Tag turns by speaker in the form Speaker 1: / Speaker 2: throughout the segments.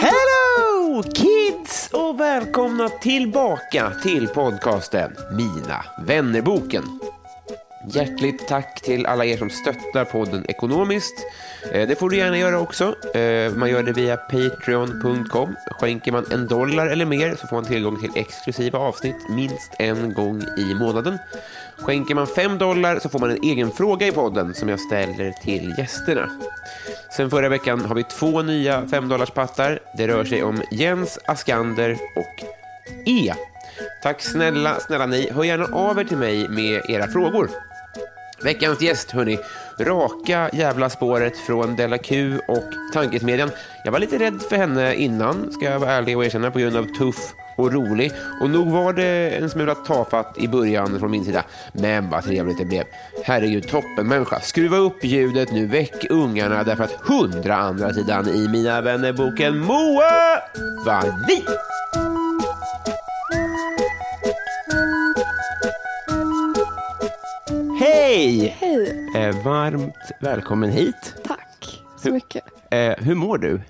Speaker 1: Hello kids och välkomna tillbaka till podcasten Mina vännerboken. Hjärtligt tack till alla er som stöttar podden ekonomiskt. Eh, Det får du gärna göra också. Eh, Man gör det via patreon.com. Skänker man en dollar eller mer så får man tillgång till exklusiva avsnitt minst en gång i månaden. Skänker man fem dollar så får man en egen fråga i podden som jag ställer till gästerna. Sen förra veckan har vi två nya femdollarspattar. Det rör sig om Jens Askander och E. Tack snälla, snälla ni. Hör gärna av er till mig med era frågor. Veckans gäst, hörni. Raka jävla spåret från Della Q och Tankesmedjan. Jag var lite rädd för henne innan, ska jag vara ärlig och erkänna, på grund av tuff och rolig. Och nog var det en smula tafatt i början från min sida. Men vad trevligt det blev. Herregud, toppenmänniska. Skruva upp ljudet nu, väck ungarna, därför att hundra andra sidan i Mina vännerboken Moa var vi. Hej!
Speaker 2: Hej,
Speaker 1: Eh, varmt välkommen hit.
Speaker 2: tack så mycket.
Speaker 1: Eh, hur mår du?
Speaker 2: Alltså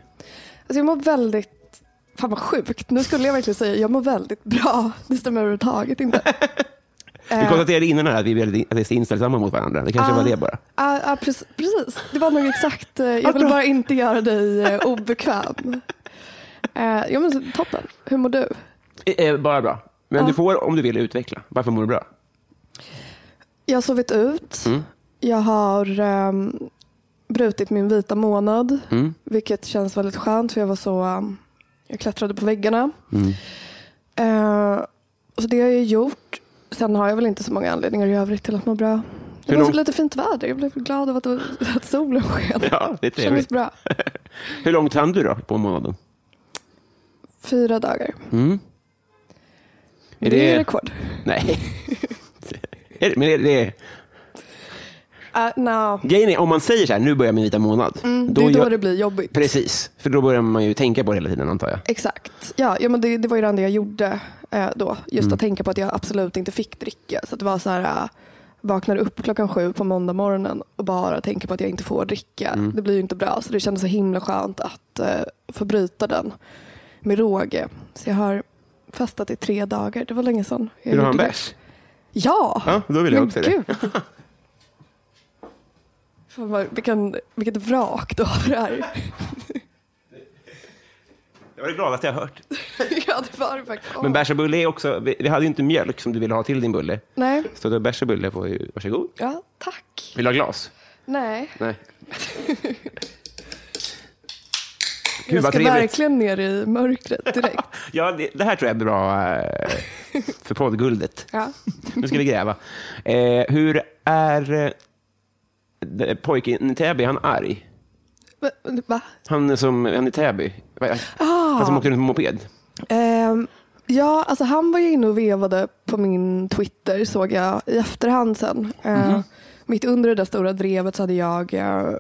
Speaker 2: jag mår väldigt, fan vad sjukt, nu skulle jag verkligen säga jag mår väldigt bra. Det stämmer överhuvudtaget inte.
Speaker 1: Vi konstaterade innan här att vi är väldigt att vi är inställsamma mot varandra. Det kanske
Speaker 2: Ah.
Speaker 1: var det bara.
Speaker 2: Eh. Ja, ja, precis, precis. Det var nog exakt, eh, jag vill
Speaker 1: bra.
Speaker 2: bara inte göra dig eh, obekväm. Eh, Jo men toppen, hur mår du?
Speaker 1: Eh, eh, bara bra. Men
Speaker 2: Ja.
Speaker 1: du får om du vill utveckla. Varför mår du bra?
Speaker 2: Jag har sovit ut,
Speaker 1: Mm.
Speaker 2: jag har ehm, brutit min vita månad,
Speaker 1: Mm.
Speaker 2: vilket känns väldigt skönt för jag var så, ehm, jag klättrade på väggarna.
Speaker 1: Mm.
Speaker 2: Eh, så det har jag ju gjort. Sen har jag väl inte så många anledningar i övrigt till att må bra. Det
Speaker 1: Hur
Speaker 2: var
Speaker 1: lång-
Speaker 2: så lite fint väder. Jag blev glad av att, det var- att solen sken.
Speaker 1: Ja, det är
Speaker 2: Det kändes
Speaker 1: trevligt.
Speaker 2: bra.
Speaker 1: Hur långt hann du då på månaden?
Speaker 2: Fyra dagar.
Speaker 1: Mm.
Speaker 2: Det,
Speaker 1: det-
Speaker 2: är rekord.
Speaker 1: Nej. Är det- Men det, det, är-
Speaker 2: Uh, no.
Speaker 1: grejen är, om man säger så här, nu börjar min vita månad.
Speaker 2: mm, det är då
Speaker 1: gör-
Speaker 2: det blir jobbigt.
Speaker 1: Precis, för då börjar man ju tänka på det hela tiden antar jag.
Speaker 2: Exakt. Ja, ja men det, det var ju det enda jag gjorde eh, då. Just
Speaker 1: Mm.
Speaker 2: att tänka på att jag absolut inte fick dricka. Så att det var så här, eh, vaknade upp klockan sju på måndag morgonen och bara tänka på att jag inte får dricka.
Speaker 1: Mm.
Speaker 2: Det blir ju inte bra. Så det kändes så himla skönt att eh, få bryta den med råge. Så jag har fastat i tre dagar. Det var länge sedan. jag
Speaker 1: Vill du ha en
Speaker 2: gjorde det.
Speaker 1: bärs?
Speaker 2: Ja!
Speaker 1: Ja, då vill jag
Speaker 2: Men
Speaker 1: också det.
Speaker 2: gud. Fan vad, vilken, vilket vrak du har här.
Speaker 1: Jag var glad att jag har hört.
Speaker 2: ja, det var det faktiskt. Åh.
Speaker 1: Men bärs och bulle är också, vi, vi hade ju inte mjölk som du ville ha till din bulle.
Speaker 2: Nej.
Speaker 1: Så då bärs och bulle får ju, varsågod.
Speaker 2: Ja, tack.
Speaker 1: Vill du ha glas?
Speaker 2: Nej.
Speaker 1: Nej. Gud
Speaker 2: Jag
Speaker 1: vad
Speaker 2: ska
Speaker 1: trevligt.
Speaker 2: verkligen ner i mörkret direkt.
Speaker 1: Ja, det, det här tror jag är bra eh, för poddguldet.
Speaker 2: Ja.
Speaker 1: Nu ska vi gräva. Eh, hur är eh, det- pojken i Täby? Är han arg?
Speaker 2: Men, Va?
Speaker 1: Han, är som, han i Täby? Vad är- Han som
Speaker 2: Ah.
Speaker 1: åkte runt på moped?
Speaker 2: Ehm, ja, alltså han var ju inne och vevade på min Twitter såg jag i efterhand sen. Ehm,
Speaker 1: Mhm.
Speaker 2: Mitt under det där stora drevet så hade jag eh,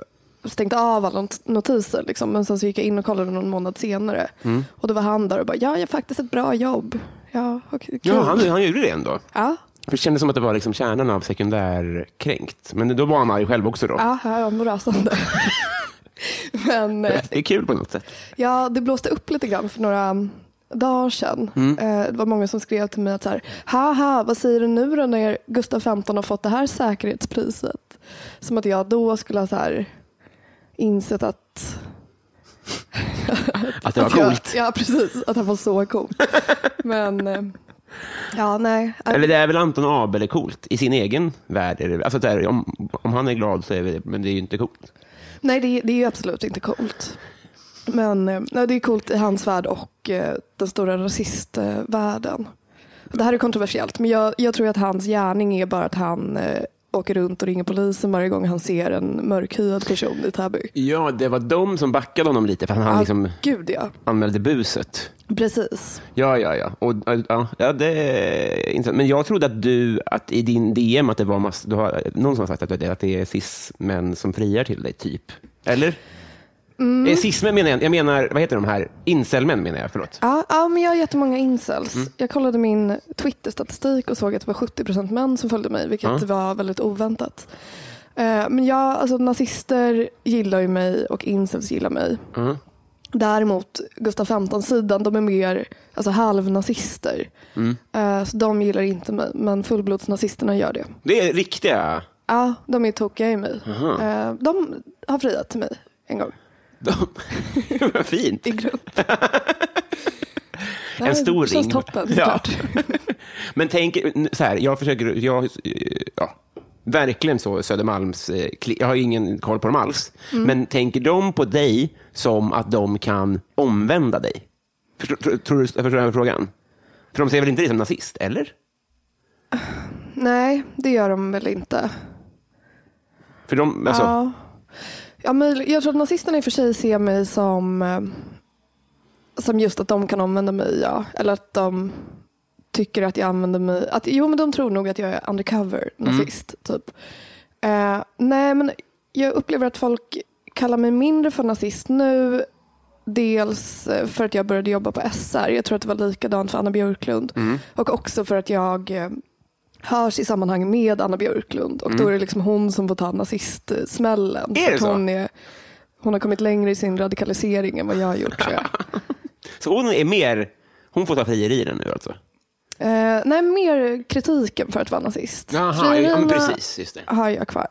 Speaker 2: stängt av alla not- notiser. Liksom. Men sen så gick jag in och kollade någon månad senare.
Speaker 1: Mm.
Speaker 2: Och då var han där och bara, jag gör faktiskt ett bra jobb. Ja, okej, kul.
Speaker 1: Ja, han, han gjorde det ändå.
Speaker 2: ja,
Speaker 1: För det kändes som att det var liksom kärnan av sekundärkränkt. Men då var han arg själv också. Då.
Speaker 2: ja, här var morasande. Men eh,
Speaker 1: Det är kul på något sätt.
Speaker 2: Ja, det blåste upp lite grann för några mm, dagar sedan. Eh, Det var många som skrev till mig att så här, haha, vad säger du nu då när Gustav 15 har fått det här säkerhetspriset? Som att jag då skulle ha så här insett att...
Speaker 1: Att det var
Speaker 2: att jag-
Speaker 1: coolt.
Speaker 2: Ja, precis. Att han var så cool. Men eh, Ja, nej.
Speaker 1: Eller det är väl Anton Abel är coolt. I sin egen värld är det, alltså det är, om, om han är glad så är det, men det är ju inte coolt.
Speaker 2: Nej, det, det är ju absolut inte coolt. Men eh, nej, det är coolt i hans värld och eh, den stora rasistvärlden. Det här är kontroversiellt, men jag, jag tror att hans gärning är bara att han eh, åker runt och ringer polisen varje gång han ser en mörkhyad person i Täby.
Speaker 1: Ja, det var de som backade honom lite för att han
Speaker 2: Ja,
Speaker 1: liksom
Speaker 2: Gud ja,
Speaker 1: anmälde buset.
Speaker 2: precis.
Speaker 1: Ja, ja, ja. Och, ja, ja det är intressant. Men jag trodde att du, att i din DM, att det var mass, du har, någon som har sagt att det, att det är cis-män som friar till dig, typ. Eller? Eh, Cis-män menar jag, jag menar, vad heter de här, incel-män menar jag, förlåt.
Speaker 2: Ja, ja, men jag har jättemånga incels.
Speaker 1: Mm.
Speaker 2: Jag kollade min Twitter-statistik och såg att det var 70% män som följde mig, vilket
Speaker 1: Ja.
Speaker 2: var väldigt oväntat. Eh, Men jag, alltså nazister gillar ju mig och incels gillar mig.
Speaker 1: Mm.
Speaker 2: Däremot Gustav Frampton-sidan, de är mer alltså, halvnazister.
Speaker 1: Mm.
Speaker 2: Eh, Så de gillar inte mig, men fullblodsnazisterna gör det.
Speaker 1: Det är riktiga,
Speaker 2: Ja, de är tokiga i mig. Eh, De har friat till mig en gång.
Speaker 1: de, vad fint.
Speaker 2: I grupp.
Speaker 1: En stor
Speaker 2: Det känns
Speaker 1: ring.
Speaker 2: toppen,
Speaker 1: Ja.
Speaker 2: såklart.
Speaker 1: Men tänk, så här, jag försöker, jag, ja, verkligen så Södermalms, eh, kli- jag har ju ingen koll på dem alls,
Speaker 2: Mm.
Speaker 1: men tänker de på dig som att de kan omvända dig? Förstår, tror, tror du, förstår du frågan? För de ser väl inte dig som nazist, eller?
Speaker 2: Nej, det gör de väl inte.
Speaker 1: För de, alltså,
Speaker 2: Ja. Ja, men jag tror att nazisterna i och för sig ser mig som, eh, som just att de kan använda mig. Ja. Eller att de tycker att jag använder mig. Att, jo, men de tror nog att jag är undercover nazist. Typ. Eh, nej, men jag upplever att folk kallar mig mindre för nazist nu. Dels eh, för att jag började jobba på SR. Jag tror att det var likadant för Anna Björklund.
Speaker 1: Mm.
Speaker 2: Och också för att jag eh, hörs i sammanhang med Anna Björklund. Och då är det liksom hon som får ta nazistsmällen.
Speaker 1: Mm. Är
Speaker 2: För
Speaker 1: det
Speaker 2: att
Speaker 1: så?
Speaker 2: Hon, är, hon har kommit längre i sin radikalisering än vad jag har gjort tror jag.
Speaker 1: Så hon är mer, hon får ta frierier nu alltså?
Speaker 2: Eh, nej, mer kritiken för att vara nazist.
Speaker 1: Jaha, ja,
Speaker 2: Frierierna
Speaker 1: men precis, just det.
Speaker 2: har jag kvar.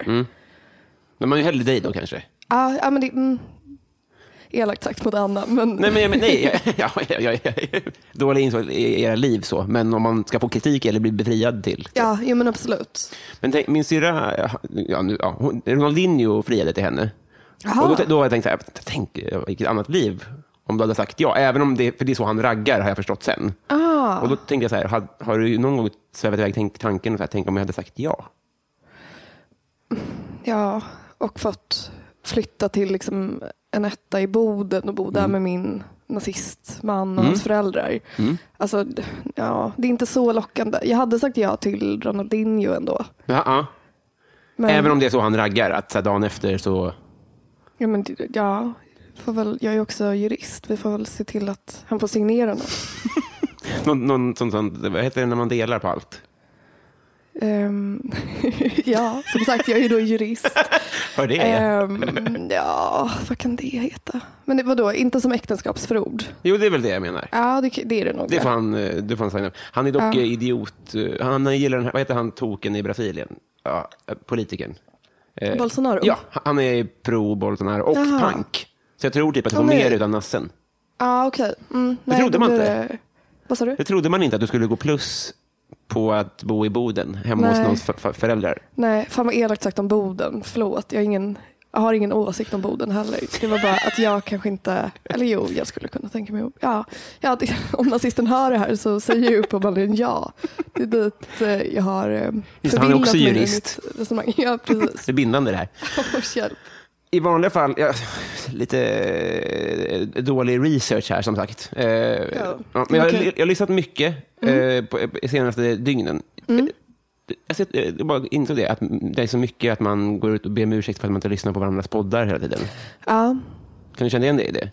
Speaker 1: Men man är ju hellre dig då kanske?
Speaker 2: Ja, ja, men det, mm, elakt sagt mot Anna, men,
Speaker 1: Nej, men, men, nej ja, ja, ja, ja, ja. dålig insåg i era liv så, men om man ska få kritik eller bli befriad till?
Speaker 2: ja, jo, men absolut.
Speaker 1: Men tänk, min syrra, ja, nu, ja, hon, Ronaldinho friade till henne.
Speaker 2: Jaha.
Speaker 1: Och då, då har jag tänkt så här, tänk eh, vilket annat liv om du hade sagt ja, även om det, för det är så han raggar har jag förstått sen.
Speaker 2: Ah,
Speaker 1: Och då tänkte jag så här, har, har du någon gång svävat iväg tänk, tanken, så här, tänk om jag hade sagt ja?
Speaker 2: ja, och fått flytta till liksom en etta i Boden och bo
Speaker 1: Mm.
Speaker 2: där med min nazistman och hans föräldrar.
Speaker 1: Mm.
Speaker 2: Alltså, d- ja, det är inte så lockande. Jag hade sagt ja till Ronaldinho ändå.
Speaker 1: Ja, ja.
Speaker 2: Men,
Speaker 1: Även om det är så han raggar, att så här, dagen efter så...
Speaker 2: ja, men, det- ja, får väl, jag är också jurist. Vi får väl se till att han får signera något.
Speaker 1: Någon, någon sån, sån, vad heter det när man delar på allt?
Speaker 2: Ehm, ja, som sagt, jag är ju då jurist.
Speaker 1: Hör det?
Speaker 2: Ehm, ja, vad kan det heta? Men det, vadå, inte som äktenskapsförord?
Speaker 1: Jo, det är väl det jag menar.
Speaker 2: Ja, det, det är det nog.
Speaker 1: Det får han, eh, det får han signa upp. Han är dock
Speaker 2: Ja.
Speaker 1: eh, idiot. eh, Han gillar den här, vad heter han, token i Brasilien? Ja, eh, politikern. Eh,
Speaker 2: Bolsonaro?
Speaker 1: Ja, han är pro Bolsonaro och
Speaker 2: Jaha.
Speaker 1: punk. Så jag tror typ att han
Speaker 2: Han
Speaker 1: får
Speaker 2: är-
Speaker 1: mer utan nassen.
Speaker 2: Ja, okej. Mm, nej,
Speaker 1: trodde
Speaker 2: då
Speaker 1: man
Speaker 2: blir
Speaker 1: inte.
Speaker 2: det- Vad sa du?
Speaker 1: Det trodde man inte att du skulle gå plus på att bo i Boden, hemma hos
Speaker 2: Nej.
Speaker 1: någons fa- fa- föräldrar.
Speaker 2: Nej, fan vad elakt sagt om Boden. Förlåt, jag har ingen, jag har ingen åsikt om Boden heller. Det var bara att jag kanske inte, eller jo, jag skulle kunna tänka mig om. Ja, ja, det, om nazisten hör det här så säger jag uppenbarligen ja. Det är dit eh, jag har eh,
Speaker 1: Just det, han är också
Speaker 2: mig i
Speaker 1: jurist.
Speaker 2: mitt resonemang. Ja, precis.
Speaker 1: Det är bindande det här.
Speaker 2: Åh, hjälp.
Speaker 1: I vanliga fall, ja, lite eh, dålig research här som sagt. Eh, ja. men jag, har-
Speaker 2: okej. Mm.
Speaker 1: jag har lyssnat mycket eh, på, eh, senaste dygnen. Eh, Jag, ser- eh, jag bara insåg det, att det är så mycket att man går ut och ber om ursäkt för att man inte lyssnar på varandras poddar hela tiden.
Speaker 2: Ja,
Speaker 1: Kan du känna igen dig i det?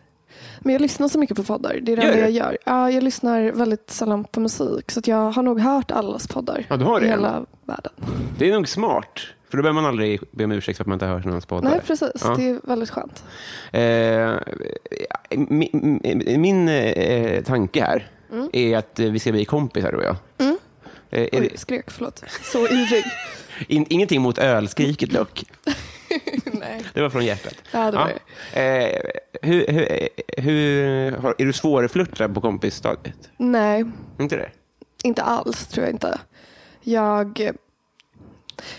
Speaker 2: men jag lyssnar så mycket på poddar. Det är det
Speaker 1: Gör
Speaker 2: enda jag
Speaker 1: du?
Speaker 2: gör. Ja, jag lyssnar väldigt sällan på musik. Så att jag har nog hört allas poddar.
Speaker 1: Ja, du har det.
Speaker 2: I hela världen.
Speaker 1: Det är nog smart, för då behöver man aldrig be om ursäkt för att man inte hör sina poddar.
Speaker 2: Nej, precis.
Speaker 1: Ja.
Speaker 2: Det är väldigt skönt.
Speaker 1: Eh, min min eh, tanke här
Speaker 2: Mm.
Speaker 1: är att eh, vi ska bli kompisar du och jag. Eh, är
Speaker 2: Oj,
Speaker 1: det-
Speaker 2: skrek, förlåt. Så ivrig.
Speaker 1: in, ingenting mot ölskriket dock.
Speaker 2: Nej.
Speaker 1: Det var från hjärtat.
Speaker 2: Ja, det var
Speaker 1: Eh, hur, hur, eh, hur, har- är du svårflörtad på kompisstadiet?
Speaker 2: Nej,
Speaker 1: Inte det?
Speaker 2: Inte alls tror jag inte. Jag...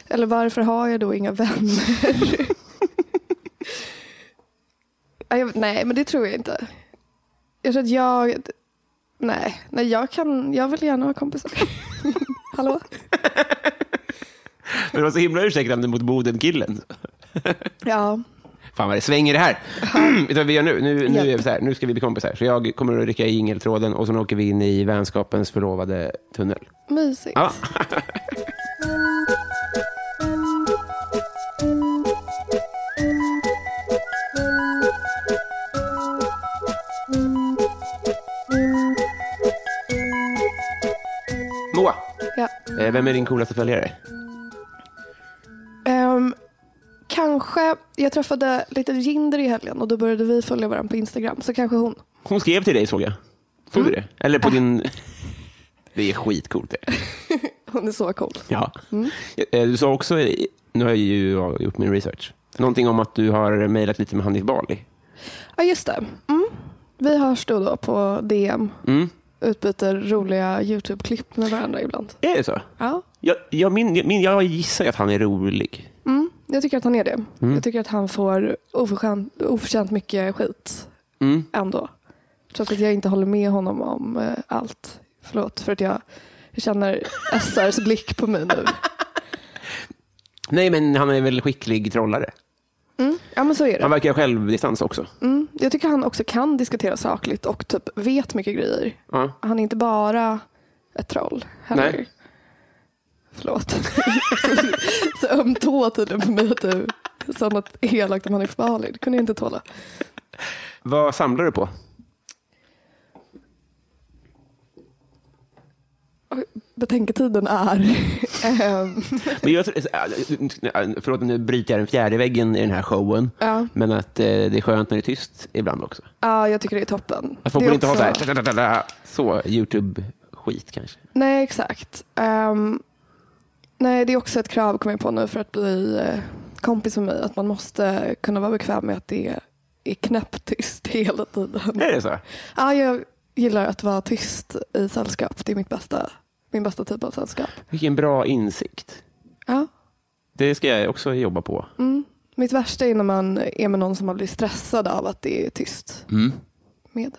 Speaker 2: Eller varför har jag då inga vänner? Nej, jag, nej, men det tror jag inte. Jag tror att jag... Nej, nej jag, kan, jag vill gärna ha kompisar. Hallå?
Speaker 1: Men det var så himla ursäktande mot Boden-killen.
Speaker 2: Ja.
Speaker 1: Fan vad det svänger det här. Vet du vad vi gör nu? Nu, nu,
Speaker 2: Hjälp.
Speaker 1: är vi så här. nu ska vi bli kompisar. Så jag kommer att rycka i jingeltråden och sen åker vi in i vänskapens förlovade tunnel.
Speaker 2: Mysigt.
Speaker 1: Ja. Moa,
Speaker 2: Ja.
Speaker 1: eh, vem är din coolaste följare?
Speaker 2: Ehm, kanske, jag träffade lite Jinder i helgen och då började vi följa varandra på Instagram. Så kanske hon.
Speaker 1: Hon skrev till dig såg jag. Såg du det? Eller på din... Det är skitcoolt det.
Speaker 2: Hon är så cool.
Speaker 1: Ja. Eh, Du sa också, i- nu har jag ju gjort min research, någonting om att du har mejlat lite med Hanif Bali.
Speaker 2: Ja, just det. Mm. Vi hörs då och då på DM.
Speaker 1: Mm.
Speaker 2: Utbyter roliga YouTube-klipp med varandra ibland.
Speaker 1: Är det så?
Speaker 2: Ja.
Speaker 1: Jag, jag, min, min, jag gissar ju att han är rolig.
Speaker 2: Mm. Jag tycker att han är det. Jag tycker att han får oförtjänt, oförtjänt mycket skit
Speaker 1: Mm.
Speaker 2: ändå. Trots att jag inte håller med honom om eh, allt. Förlåt för att jag, jag känner SRs blick på mig nu.
Speaker 1: Nej, men han är väl skicklig trollare.
Speaker 2: Mm. Ja men så är det.
Speaker 1: Han verkar ha självdistans också.
Speaker 2: Mm, jag tycker han också kan diskutera sakligt och typ vet mycket grejer.
Speaker 1: Ja.
Speaker 2: Han är inte bara ett troll heller.
Speaker 1: Nej.
Speaker 2: Förlåt. så öm tå tydligen på mig att du sa något elakt om Hanif Bali. Det kunde jag inte tåla.
Speaker 1: Vad samlar du på?
Speaker 2: Betänketiden är... ehm,
Speaker 1: Men jag, tror- eh, förlåt, nu bryter jag den fjärde väggen i den här showen.
Speaker 2: Ja.
Speaker 1: Men att eh, det är skönt när det är tyst ibland också.
Speaker 2: ja, jag tycker det är toppen.
Speaker 1: Att folk
Speaker 2: det är
Speaker 1: vill inte ha så
Speaker 2: också-
Speaker 1: här, ta-ta-ta-ta, så YouTube-skit kanske.
Speaker 2: Nej, exakt. Ehm, nej, det är också ett krav kommer jag på nu för att bli eh, kompis med mig. Att man måste kunna vara bekväm med att det är knäpptyst hela tiden.
Speaker 1: Är det så?
Speaker 2: Ja, jag gillar att vara tyst i sällskap. Det är mitt bästa, min bästa typ av sällskap.
Speaker 1: Vilken bra insikt.
Speaker 2: Ja.
Speaker 1: Det ska jag också jobba på.
Speaker 2: Mm. Mitt värsta är när man är med någon som man blir stressad av att det är tyst
Speaker 1: Mm.
Speaker 2: med.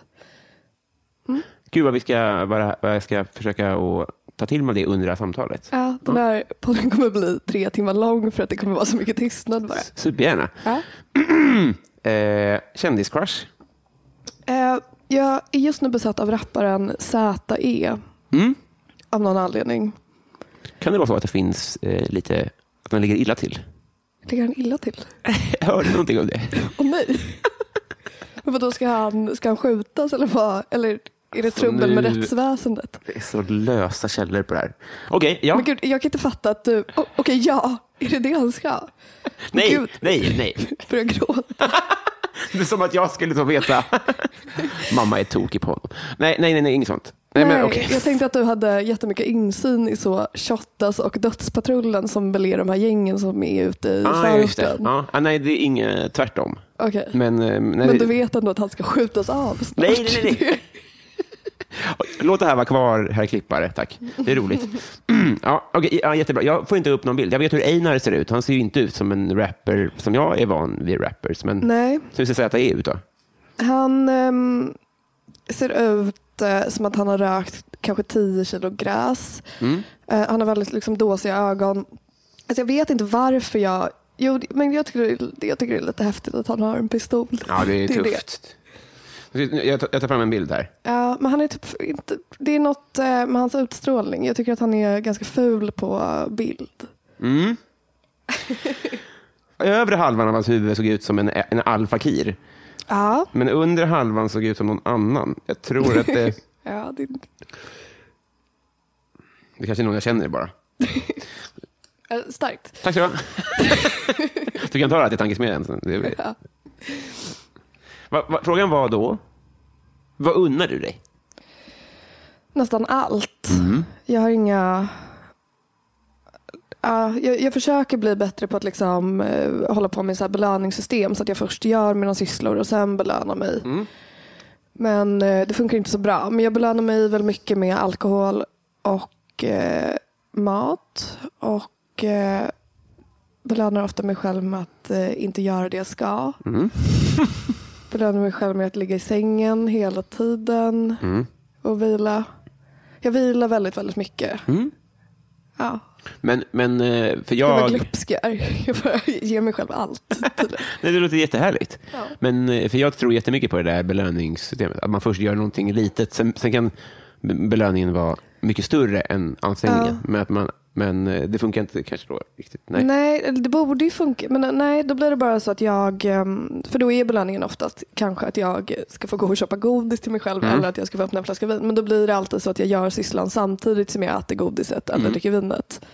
Speaker 1: Gud vad, vi ska, vad vad jag ska försöka att ta till mig det under det här samtalet.
Speaker 2: Ja, den här podden kommer bli tre timmar lång för att det kommer vara så mycket tystnad bara.
Speaker 1: Supergärna.
Speaker 2: Ja.
Speaker 1: Eh, kändiscrush.
Speaker 2: Eh, jag är just nu besatt av rapparen Z.E.
Speaker 1: Mm.
Speaker 2: Av någon anledning.
Speaker 1: Kan det vara så att det finns eh, lite, att man ligger illa till?
Speaker 2: Ligger han illa till?
Speaker 1: Hörde du någonting om det?
Speaker 2: Åh nej! Men vadå, ska han, ska han skjutas eller vad? Eller är det trubbel med
Speaker 1: nu-
Speaker 2: rättsväsendet?
Speaker 1: Det är så lösa källor på det här. Okej, ja.
Speaker 2: Men gud, jag kan inte fatta att du... Oh, Okej, ja. Är det det han ska?
Speaker 1: nej,
Speaker 2: gud.
Speaker 1: nej, nej.
Speaker 2: Börja gråta.
Speaker 1: Det är som att jag skulle då veta. Mamma är tokig på honom. Nej, nej, nej, nej inget sånt. Nej, men okej.
Speaker 2: jag tänkte att du hade jättemycket insyn i så Shottaz och Dödspatrullen som väl är de här gängen som är ute i
Speaker 1: Ah, just det.
Speaker 2: förorten.
Speaker 1: Ja, ah, nej, det är inget tvärtom.
Speaker 2: Okej.
Speaker 1: Men, eh, nej,
Speaker 2: Men
Speaker 1: det-
Speaker 2: du vet ändå att han ska skjutas av snart.
Speaker 1: Nej, nej, nej, nej. Låt det här vara kvar, herr klippare. Tack. Det är roligt. ja, okay, ja, jättebra. Jag får inte upp någon bild. Jag vet hur Einar ser ut. Han ser ju inte ut som en rapper, som jag är van vid rappers. Men
Speaker 2: Nej,
Speaker 1: hur ser Z ut då?
Speaker 2: han ehm, ser ut eh, som att han har rökt kanske 10 kilo gräs.
Speaker 1: Mm.
Speaker 2: Eh, han har väldigt liksom, dåsiga ögon. Alltså, jag vet inte varför jag... Jo, det- men jag tycker, det- jag tycker det är lite häftigt att han har en pistol.
Speaker 1: Ja, det är
Speaker 2: Det är
Speaker 1: tufft. Jag tar jag tar fram en bild här.
Speaker 2: Ja, men han är typ inte, det är något eh, med hans utstrålning. Jag tycker att han är ganska ful på bild.
Speaker 1: Mm. Övre halvan av hans huvud såg ut som en, en alfakir.
Speaker 2: Ja,
Speaker 1: Men undre halvan såg ut som någon annan. Jag tror att det...
Speaker 2: ja det,
Speaker 1: Det kanske är någon jag känner bara.
Speaker 2: eh, starkt.
Speaker 1: Tack så du ha. Du kan ta det här till tankesmedjan. sen. Det blir-
Speaker 2: Ja.
Speaker 1: Va, va, frågan var då, vad unnar du dig?
Speaker 2: Nästan allt. Jag har inga... Ja, jag, jag försöker bli bättre på att liksom, eh, hålla på med så här belöningssystem så att jag först gör mina sysslor och sen belönar mig.
Speaker 1: Mm.
Speaker 2: Men eh, det funkar inte så bra. Men jag belönar mig väl mycket med alkohol och eh, mat. Och eh, belönar ofta mig själv med att eh, inte göra det jag ska. belönar mig själv med att ligga i sängen hela tiden och vila. Jag vilar väldigt, väldigt mycket. Ja,
Speaker 1: Men, men eh, för
Speaker 2: jag var
Speaker 1: jag...
Speaker 2: glupsk jag är. Jag bara ger mig själv allt. tydligen.
Speaker 1: Nej, det låter jättehärligt.
Speaker 2: Ja.
Speaker 1: Men, eh, för jag tror jättemycket på det där belöningssystemet. Att man först gör någonting litet, sen, sen kan be- belöningen vara mycket större än ansträngningen. Men, att man, men eh, det funkar inte kanske då riktigt. Nej.
Speaker 2: Nej, eller det borde ju funka. Men eh, nej, då blir det bara så att jag, ehm, för då är belöningen oftast kanske att jag ska få gå och köpa godis till mig själv
Speaker 1: Mm.
Speaker 2: eller att jag ska få öppna en flaska vin. Men då blir det alltid så att jag gör sysslan samtidigt som jag äter godiset
Speaker 1: Mm.
Speaker 2: eller dricker vinet.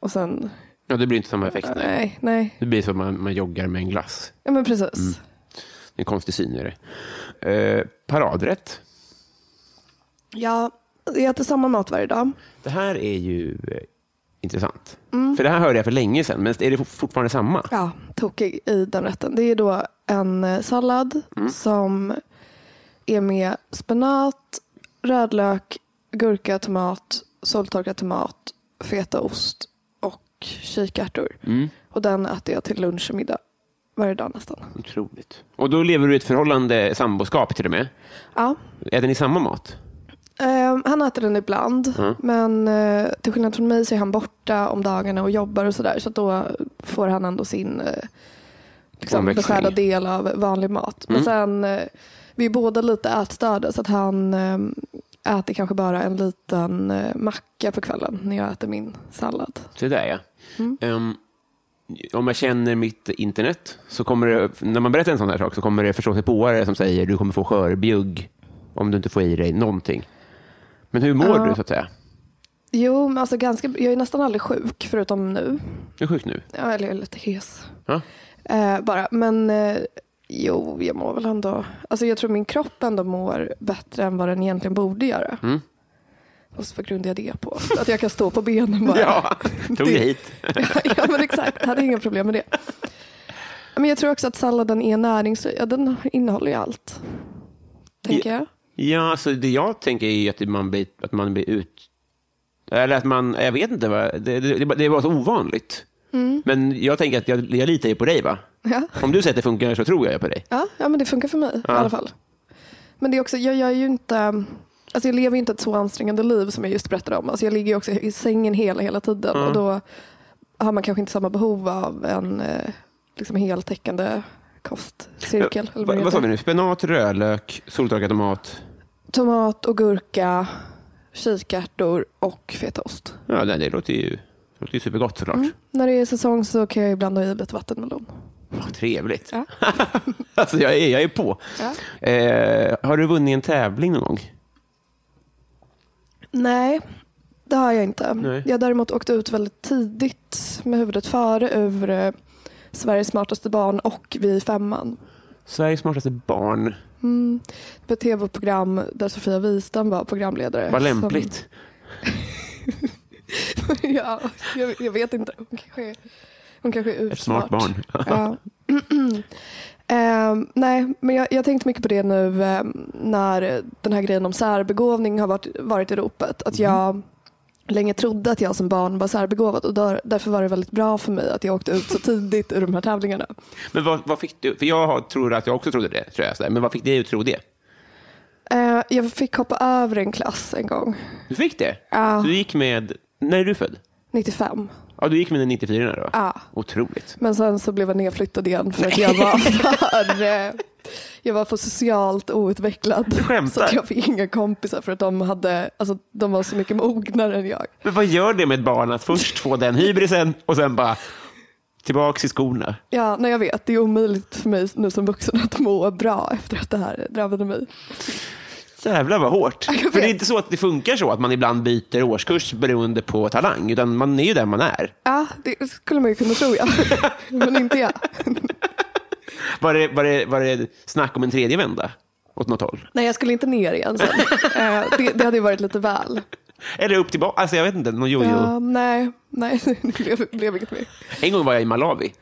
Speaker 2: Och sen,
Speaker 1: Ja, det blir inte samma effekt. Nej.
Speaker 2: nej, nej.
Speaker 1: Det blir som att man, man joggar med en glass.
Speaker 2: Ja men precis.
Speaker 1: Mm. Det är en konstig syn. Är det. Eh, paradrätt.
Speaker 2: Ja, jag äter samma mat varje dag.
Speaker 1: Det här är ju eh, intressant. För det här hörde jag för länge sedan, men är det for- fortfarande samma?
Speaker 2: Ja, tokig i den rätten. Det är då en eh, sallad som är med spenat, rödlök, gurka, tomat, soltorkad tomat, fetaost och kikärtor. Och den äter jag till lunch och middag varje dag nästan.
Speaker 1: Otroligt. Och då lever du i ett förhållande, samboskap till och med.
Speaker 2: Ja.
Speaker 1: Äter ni samma mat?
Speaker 2: Ehm, han äter den ibland, men eh, till skillnad från mig så är han borta om dagarna och jobbar och sådär. Så att då får han ändå sin eh, liksom,
Speaker 1: Omväxling.
Speaker 2: beskärda del av vanlig mat.
Speaker 1: Mm.
Speaker 2: Men sen, eh, vi är båda lite ätstörda så att han eh, äter kanske bara en liten eh, macka på kvällen när jag äter min sallad.
Speaker 1: Så där ja. Ehm, om jag känner mitt internet, så kommer det, när man berättar en sån här sak så kommer det förståsigpåare som säger du kommer få skörbjugg om du inte får i dig någonting. Men hur mår
Speaker 2: Ja.
Speaker 1: du så att säga?
Speaker 2: Jo, men alltså ganska, jag är nästan aldrig sjuk förutom nu.
Speaker 1: Du är sjuk nu?
Speaker 2: Ja, eller jag är lite hes.
Speaker 1: Ja.
Speaker 2: Eh, bara. Men eh, jo, jag mår väl ändå... Alltså jag tror min kropp ändå mår bättre än vad den egentligen borde göra.
Speaker 1: Mm.
Speaker 2: Och så vad grundar jag det på? Att jag kan stå på benen bara.
Speaker 1: Ja, tog
Speaker 2: Det-
Speaker 1: dig hit.
Speaker 2: ja men exakt. Jag hade inga problem med det. Men jag tror också att salladen är näringsrik. Ja, den innehåller ju allt. Tänker jag.
Speaker 1: Ja, så det jag tänker är ju att man blir, att man blir ut... Eller att man, jag vet inte, vad, det, det, det bara- det var så ovanligt.
Speaker 2: Mm.
Speaker 1: Men jag tänker att jag, jag litar ju på dig, va?
Speaker 2: Ja.
Speaker 1: Om du säger att det funkar så tror jag ju på dig.
Speaker 2: Ja, ja men det funkar för mig i alla fall. Men det är också, jag, jag är ju inte, alltså jag lever ju inte ett så ansträngande liv som jag just berättade om. Alltså jag ligger ju också i sängen hela, hela tiden
Speaker 1: Mm.
Speaker 2: och då har man kanske inte samma behov av en eh, liksom heltäckande kostcirkel. eller vad
Speaker 1: Va,
Speaker 2: det
Speaker 1: vad sa
Speaker 2: heter.
Speaker 1: vi nu? Spenat, rödlök, soltorkad tomat.
Speaker 2: Tomat och gurka, kikärtor och fetaost.
Speaker 1: Ja, det, det låter ju, det låter ju supergott såklart.
Speaker 2: När det är säsong så kan jag ibland ha i lite vattenmelon.
Speaker 1: Vad trevligt.
Speaker 2: Ja.
Speaker 1: alltså, jag är, jag är på.
Speaker 2: Ja.
Speaker 1: Eh, har du vunnit en tävling någon gång?
Speaker 2: Nej, det har jag inte.
Speaker 1: Nej.
Speaker 2: Jag har däremot åkt ut väldigt tidigt med huvudet före ur eh, Sveriges smartaste barn och Vi i femman. Mm.
Speaker 1: Sveriges smartaste barn.
Speaker 2: Eh, På ett tv-program där Sofia Wistam var programledare.
Speaker 1: Vad lämpligt.
Speaker 2: Som, ja, jag, jag vet inte. Hon kanske, hon kanske är ursmart.
Speaker 1: Ett smart barn.
Speaker 2: Ja. Ehm, nej, men jag, jag tänkte mycket på det nu ehm, när den här grejen om särbegåvning har varit, varit i ropet. Att jag länge trodde att jag som barn var särbegåvad och där, därför var det väldigt bra för mig att jag åkte ut så tidigt ur de här tävlingarna.
Speaker 1: Men vad, vad fick du? För jag har- tror att jag också trodde det. Tror jag, sådär. Men vad fick dig att tro det?
Speaker 2: Eh, jag fick hoppa över en klass en gång,
Speaker 1: Du fick det?
Speaker 2: Ja.
Speaker 1: Så du gick med... När är du född?
Speaker 2: 95.
Speaker 1: Ja, du gick med den 94 då?
Speaker 2: Ja.
Speaker 1: Otroligt.
Speaker 2: Men sen så blev jag nedflyttad igen för att jag var för, eh, jag var för socialt outvecklad.
Speaker 1: skämtar.
Speaker 2: Så att jag fick inga kompisar för att de, hade, alltså, de var så mycket mognare än jag.
Speaker 1: Men vad gör det med ett barn att först få den hybrisen och sen bara tillbaks i skorna?
Speaker 2: Ja, nej, jag vet. Det är omöjligt för mig nu som vuxen att må bra efter att det här drabbade mig.
Speaker 1: Jävlar vad hårt.
Speaker 2: Jag vet.
Speaker 1: För det är inte så att det funkar så att man ibland byter årskurs beroende på talang, utan man är ju där man är.
Speaker 2: Ja, det skulle man ju kunna tro, ja. Men inte jag.
Speaker 1: Var det, var det, var det snack om en tredje vända åt något håll?
Speaker 2: Nej, jag skulle inte ner igen sen. Eh, Det, det hade ju varit lite väl.
Speaker 1: Eller upp till ba- Alltså jag vet inte, någon jojo.
Speaker 2: Ja, nej, nej, det blev, blev inget mer.
Speaker 1: En gång var jag i Malawi.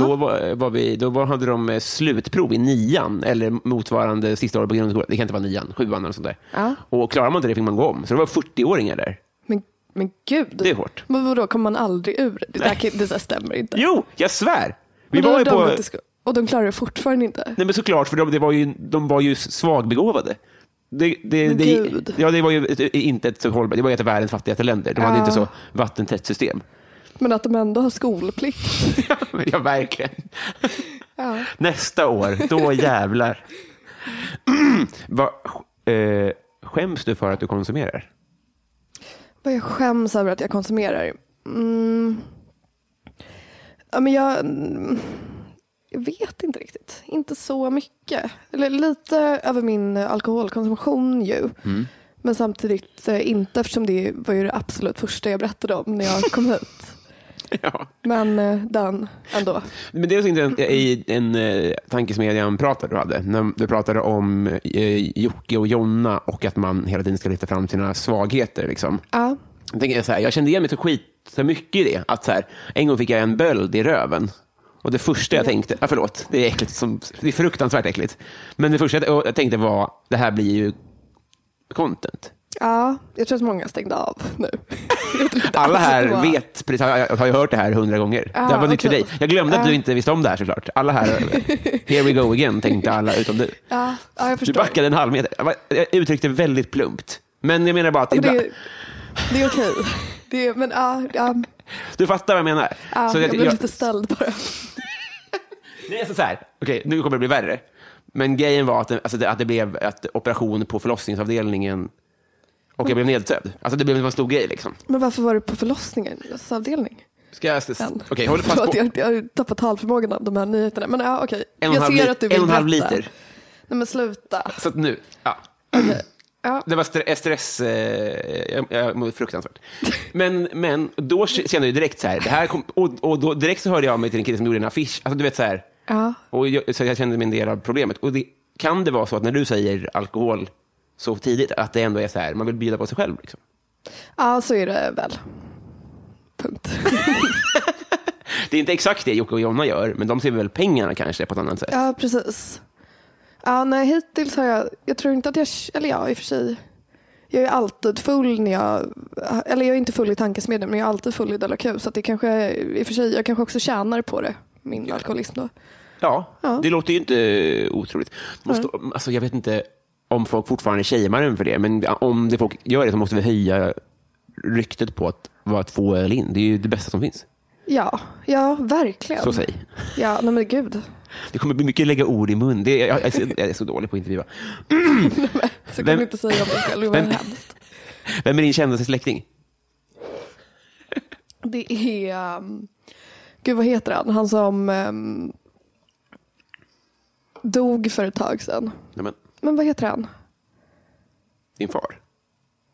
Speaker 1: Då, var, var vi, då var, hade de eh, slutprov i nian, eller motsvarande sista året på grundskolan. Det kan inte vara nian, sjuan eller sånt där.
Speaker 2: Ja.
Speaker 1: Och klarar man inte det fick man gå om. Så det var 40-åringar där.
Speaker 2: Men, men gud.
Speaker 1: Det är hårt.
Speaker 2: Men vadå, kommer man aldrig ur det? Det, där, kan- det där stämmer inte.
Speaker 1: Jo, jag svär! Vi
Speaker 2: Och då
Speaker 1: var
Speaker 2: har
Speaker 1: ju
Speaker 2: de
Speaker 1: på...
Speaker 2: gått i sko- Och de klarar det fortfarande inte?
Speaker 1: Nej, men såklart, för de, det var ju, de var ju svagbegåvade. Det, det,
Speaker 2: Men
Speaker 1: det,
Speaker 2: gud.
Speaker 1: ja, det var ju ett- inte ett så hållbart, det var ju ett av världens fattigaste länder. De hade
Speaker 2: Ja.
Speaker 1: inte så vattentätt system.
Speaker 2: Men att de ändå har skolplikt.
Speaker 1: ja, verkligen. Nästa år, då jävlar. Va, eh, skäms du för att du konsumerar?
Speaker 2: Vad jag skäms över att jag konsumerar. Mm. Ja, men jag, mm, jag vet inte riktigt. Inte så mycket. Eller lite över min alkoholkonsumtion ju.
Speaker 1: Mm.
Speaker 2: Men samtidigt eh, inte eftersom det var ju det absolut första jag berättade om när jag kom hit.
Speaker 1: Ja.
Speaker 2: Men eh, den ändå.
Speaker 1: Men det är också inte i en eh, tankesmedjan-pratare du hade, när du pratade om eh, Jocke och Jonna och att man hela tiden ska lyfta fram sina svagheter. Liksom.
Speaker 2: Ja.
Speaker 1: Jag, tänker så här, jag kände igen mig så skit så mycket i det. Att så här, en gång fick jag en böld i röven. Och det första jag tänkte, ja, förlåt, det är, äckligt som, det är fruktansvärt äckligt. Men det första jag jag tänkte var, det här blir ju content.
Speaker 2: ja, jag tror att många stängde av nu. Jag tror inte
Speaker 1: Alla
Speaker 2: alls att det var-
Speaker 1: här vet, precis, har- jag har ju hört det här hundra gånger. det här var nytt för
Speaker 2: okej.
Speaker 1: dig. Jag glömde att
Speaker 2: Ah.
Speaker 1: du inte visste om det här såklart. Alla här, here we go again, tänkte alla utom du.
Speaker 2: Ja, ja jag
Speaker 1: Du
Speaker 2: förstår.
Speaker 1: backade en halv meter. Jag var- Jag uttryckte väldigt plumpt. Men jag menar bara att
Speaker 2: Men
Speaker 1: ibland,
Speaker 2: Det, det är okej. Det är, men ja, ja,
Speaker 1: du fattar vad jag menar.
Speaker 2: ja,
Speaker 1: Så
Speaker 2: jag
Speaker 1: att
Speaker 2: blev lite ställd bara.
Speaker 1: Det är så här, okej, nu kommer det bli värre. Men grejen var att det, alltså det, att det blev ett operation på förlossningsavdelningen och jag blev
Speaker 2: Mm.
Speaker 1: nedsövd. Alltså det blev en stor grej liksom.
Speaker 2: Men varför var du på förlossningens avdelning?
Speaker 1: Ska jag... s- s-
Speaker 2: än?
Speaker 1: Okej, håll fast
Speaker 2: Förlåt,
Speaker 1: på.
Speaker 2: jag, jag har ju tappat talförmågan av de här nyheterna. Men ja, okej.
Speaker 1: En och en
Speaker 2: Jag
Speaker 1: halv,
Speaker 2: ser
Speaker 1: lit-
Speaker 2: att du
Speaker 1: en
Speaker 2: vill
Speaker 1: och en halv
Speaker 2: berätta.
Speaker 1: liter.
Speaker 2: Nej men sluta.
Speaker 1: Så att nu, ja.
Speaker 2: Okej. Ja.
Speaker 1: Det var stre- stress, eh, jag, jag mådde fruktansvärt. Men, men då kände jag ju direkt så här, det här kom, och, och då, direkt så hörde jag av mig till en kille som gjorde en affisch. Alltså du vet så här,
Speaker 2: Ja.
Speaker 1: och jag, så jag kände mig en del av problemet. Och det, kan det vara så att när du säger alkohol så tidigt, att det ändå är så här, man vill bjuda på sig själv liksom?
Speaker 2: ja, så är det väl. Punkt.
Speaker 1: Det är inte exakt det Jocke och Jonna gör, men de ser väl pengarna kanske på ett annat sätt.
Speaker 2: Ja, precis. Ja, nej, hittills har jag, jag tror inte att jag, eller ja i och för sig. Jag är alltid full när jag, eller jag är inte full i tankesmedjan men jag är alltid full i Della Q. Så att det kanske, i och för sig, jag kanske också tjänar på det, min alkoholism då.
Speaker 1: Ja,
Speaker 2: Ja.
Speaker 1: det låter ju inte eh, otroligt. Måste, alltså, jag vet inte om folk fortfarande shamear en för det, men om det folk gör det så måste vi höja ryktet på att vara två öl in. Det är ju det bästa som finns.
Speaker 2: Ja, ja verkligen.
Speaker 1: Så säg.
Speaker 2: Ja, nej men gud.
Speaker 1: Det kommer bli mycket lägga ord i mun. Det, jag, jag, är så, jag är så dålig på att intervjua.
Speaker 2: Så kan
Speaker 1: Vem-
Speaker 2: du inte säga om dig själv, det var
Speaker 1: Vem-
Speaker 2: hemskt.
Speaker 1: Vem är din kändaste släkting?
Speaker 2: Det är, um, gud vad heter han, han som um, dog för ett tag sedan.
Speaker 1: Nej, men,
Speaker 2: Men vad heter han?
Speaker 1: din far?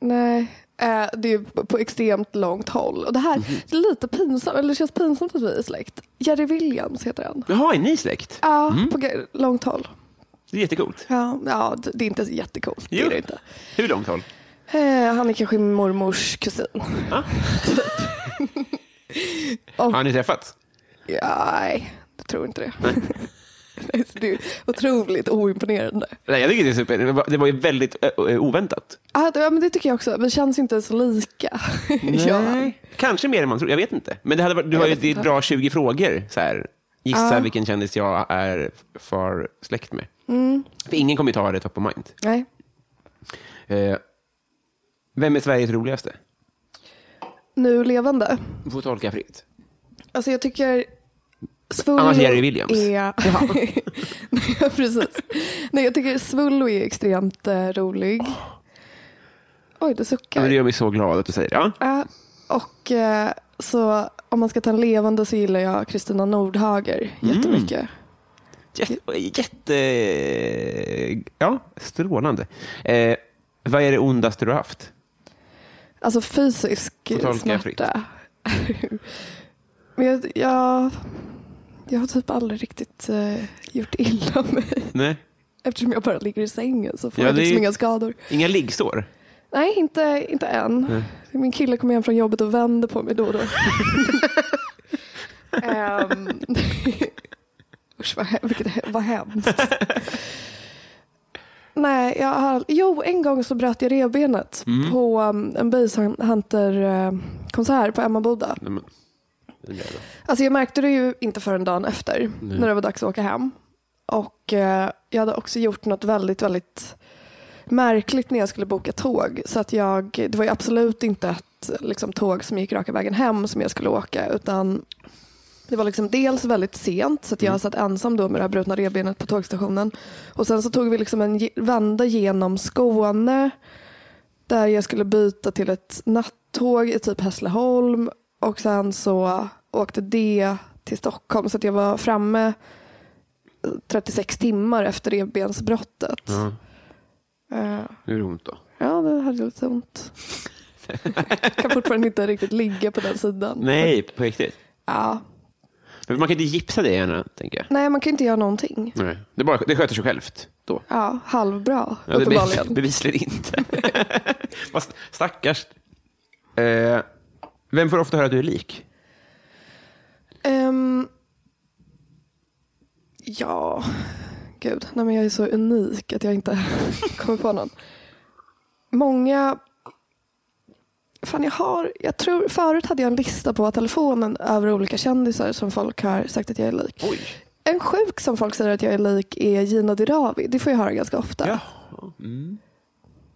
Speaker 2: Nej, eh, det är på- på extremt långt håll. Och det här det är lite pinsamt, eller det känns pinsamt att vi är släkt. Jerry Williams heter han.
Speaker 1: Jaha, är ni släkt?
Speaker 2: Ja, på ge- långt håll.
Speaker 1: Det är jättecoolt.
Speaker 2: Ja, ja, d- det är inte jättecoolt. Det
Speaker 1: Jo.
Speaker 2: är det inte.
Speaker 1: Hur långt håll?
Speaker 2: Eh, han är kanske min mormors kusin.
Speaker 1: Har ni träffats?
Speaker 2: Ja, nej, jag tror inte det. Nej, så det är otroligt oimponerande.
Speaker 1: Nej, jag tycker det är super. Det var, det var ju väldigt ö, ö, oväntat.
Speaker 2: Ja, det, ja, men det tycker jag också. Vi känns ju inte så lika. Ja.
Speaker 1: Kanske mer än man tror, jag vet inte. Men det hade varit, du har ju
Speaker 2: vet
Speaker 1: det är
Speaker 2: inte.
Speaker 1: bra 20 frågor. Så här. Gissa
Speaker 2: Ja.
Speaker 1: vilken kändis jag är för släkt med.
Speaker 2: Mm.
Speaker 1: För ingen kommer ju ta det top of mind.
Speaker 2: Nej.
Speaker 1: Eh, vem är Sveriges roligaste?
Speaker 2: Nu levande.
Speaker 1: Du får tolka fritt.
Speaker 2: Alltså jag tycker Svullo
Speaker 1: Annars Jerry Williams.
Speaker 2: Är... Nej, precis. Nej, jag tycker Svullo är extremt eh, rolig. Oj, du
Speaker 1: Ja,
Speaker 2: suckar.
Speaker 1: men det gör mig så glad att du säger det. Ja.
Speaker 2: Ja, och eh, så om man ska ta en levande så gillar jag Kristina Nordhager
Speaker 1: Mm.
Speaker 2: jättemycket.
Speaker 1: Jätte, jätte... Ja, strålande. Eh, vad är det ondaste du har haft?
Speaker 2: Alltså fysisk
Speaker 1: Får tolka
Speaker 2: smärta. Men jag, jag, jag har typ aldrig riktigt eh, gjort illa mig.
Speaker 1: Nej.
Speaker 2: Eftersom jag bara ligger i sängen så får
Speaker 1: Ja,
Speaker 2: jag
Speaker 1: det är
Speaker 2: liksom
Speaker 1: ju-
Speaker 2: inga skador.
Speaker 1: Inga liggsår?
Speaker 2: Nej, inte, inte än. Min kille kommer hem från jobbet och vänder på mig då och då. um, usch, vad, he- vilket, he- vad hemskt. Nej, jag har, jo, en gång så bröt jag revbenet på um, en basehunter-konsert på Emmaboda.
Speaker 1: Nej, men- det är bra.
Speaker 2: Alltså jag märkte det ju inte förrän dagen efter när det var dags att åka hem. Och eh, jag hade också gjort något väldigt, väldigt märkligt när jag skulle boka tåg. Så att jag, det var ju absolut inte ett liksom, tåg som gick raka vägen hem som jag skulle åka utan det var liksom dels väldigt sent så att jag satt ensam då med det här brutna revbenet på tågstationen. Och sen så tog vi liksom en ge- vända genom Skåne där jag skulle byta till ett nattåg i typ Hässleholm och sen så åkte det till Stockholm så att jag var framme 36 timmar efter revbensbrottet. Eh,
Speaker 1: Nu är det ont då.
Speaker 2: ja, det hade lite ont. kan fortfarande inte riktigt ligga på den sidan.
Speaker 1: Nej, på riktigt.
Speaker 2: Ja.
Speaker 1: Men Man kan inte gipsa det gärna, tänker jag.
Speaker 2: Nej, man kan inte göra någonting.
Speaker 1: Nej. Det, bara, det sköter sig självt då.
Speaker 2: Ja, halvbra
Speaker 1: Ja, det
Speaker 2: uppenbarligen.
Speaker 1: bevis, bevisligen inte. Fast stackars. Eh, vem får ofta höra att du är lik?
Speaker 2: Ehm, ja, gud. Nej, men jag är så unik att jag inte kommer på någon. Många... Fan, jag har... Jag tror, förut hade jag en lista på telefonen över olika kändisar som folk har sagt att jag är lik.
Speaker 1: Oj.
Speaker 2: En sjuk som folk säger att jag är lik är Gina Dirawi. Det får jag höra ganska ofta.
Speaker 1: Ja.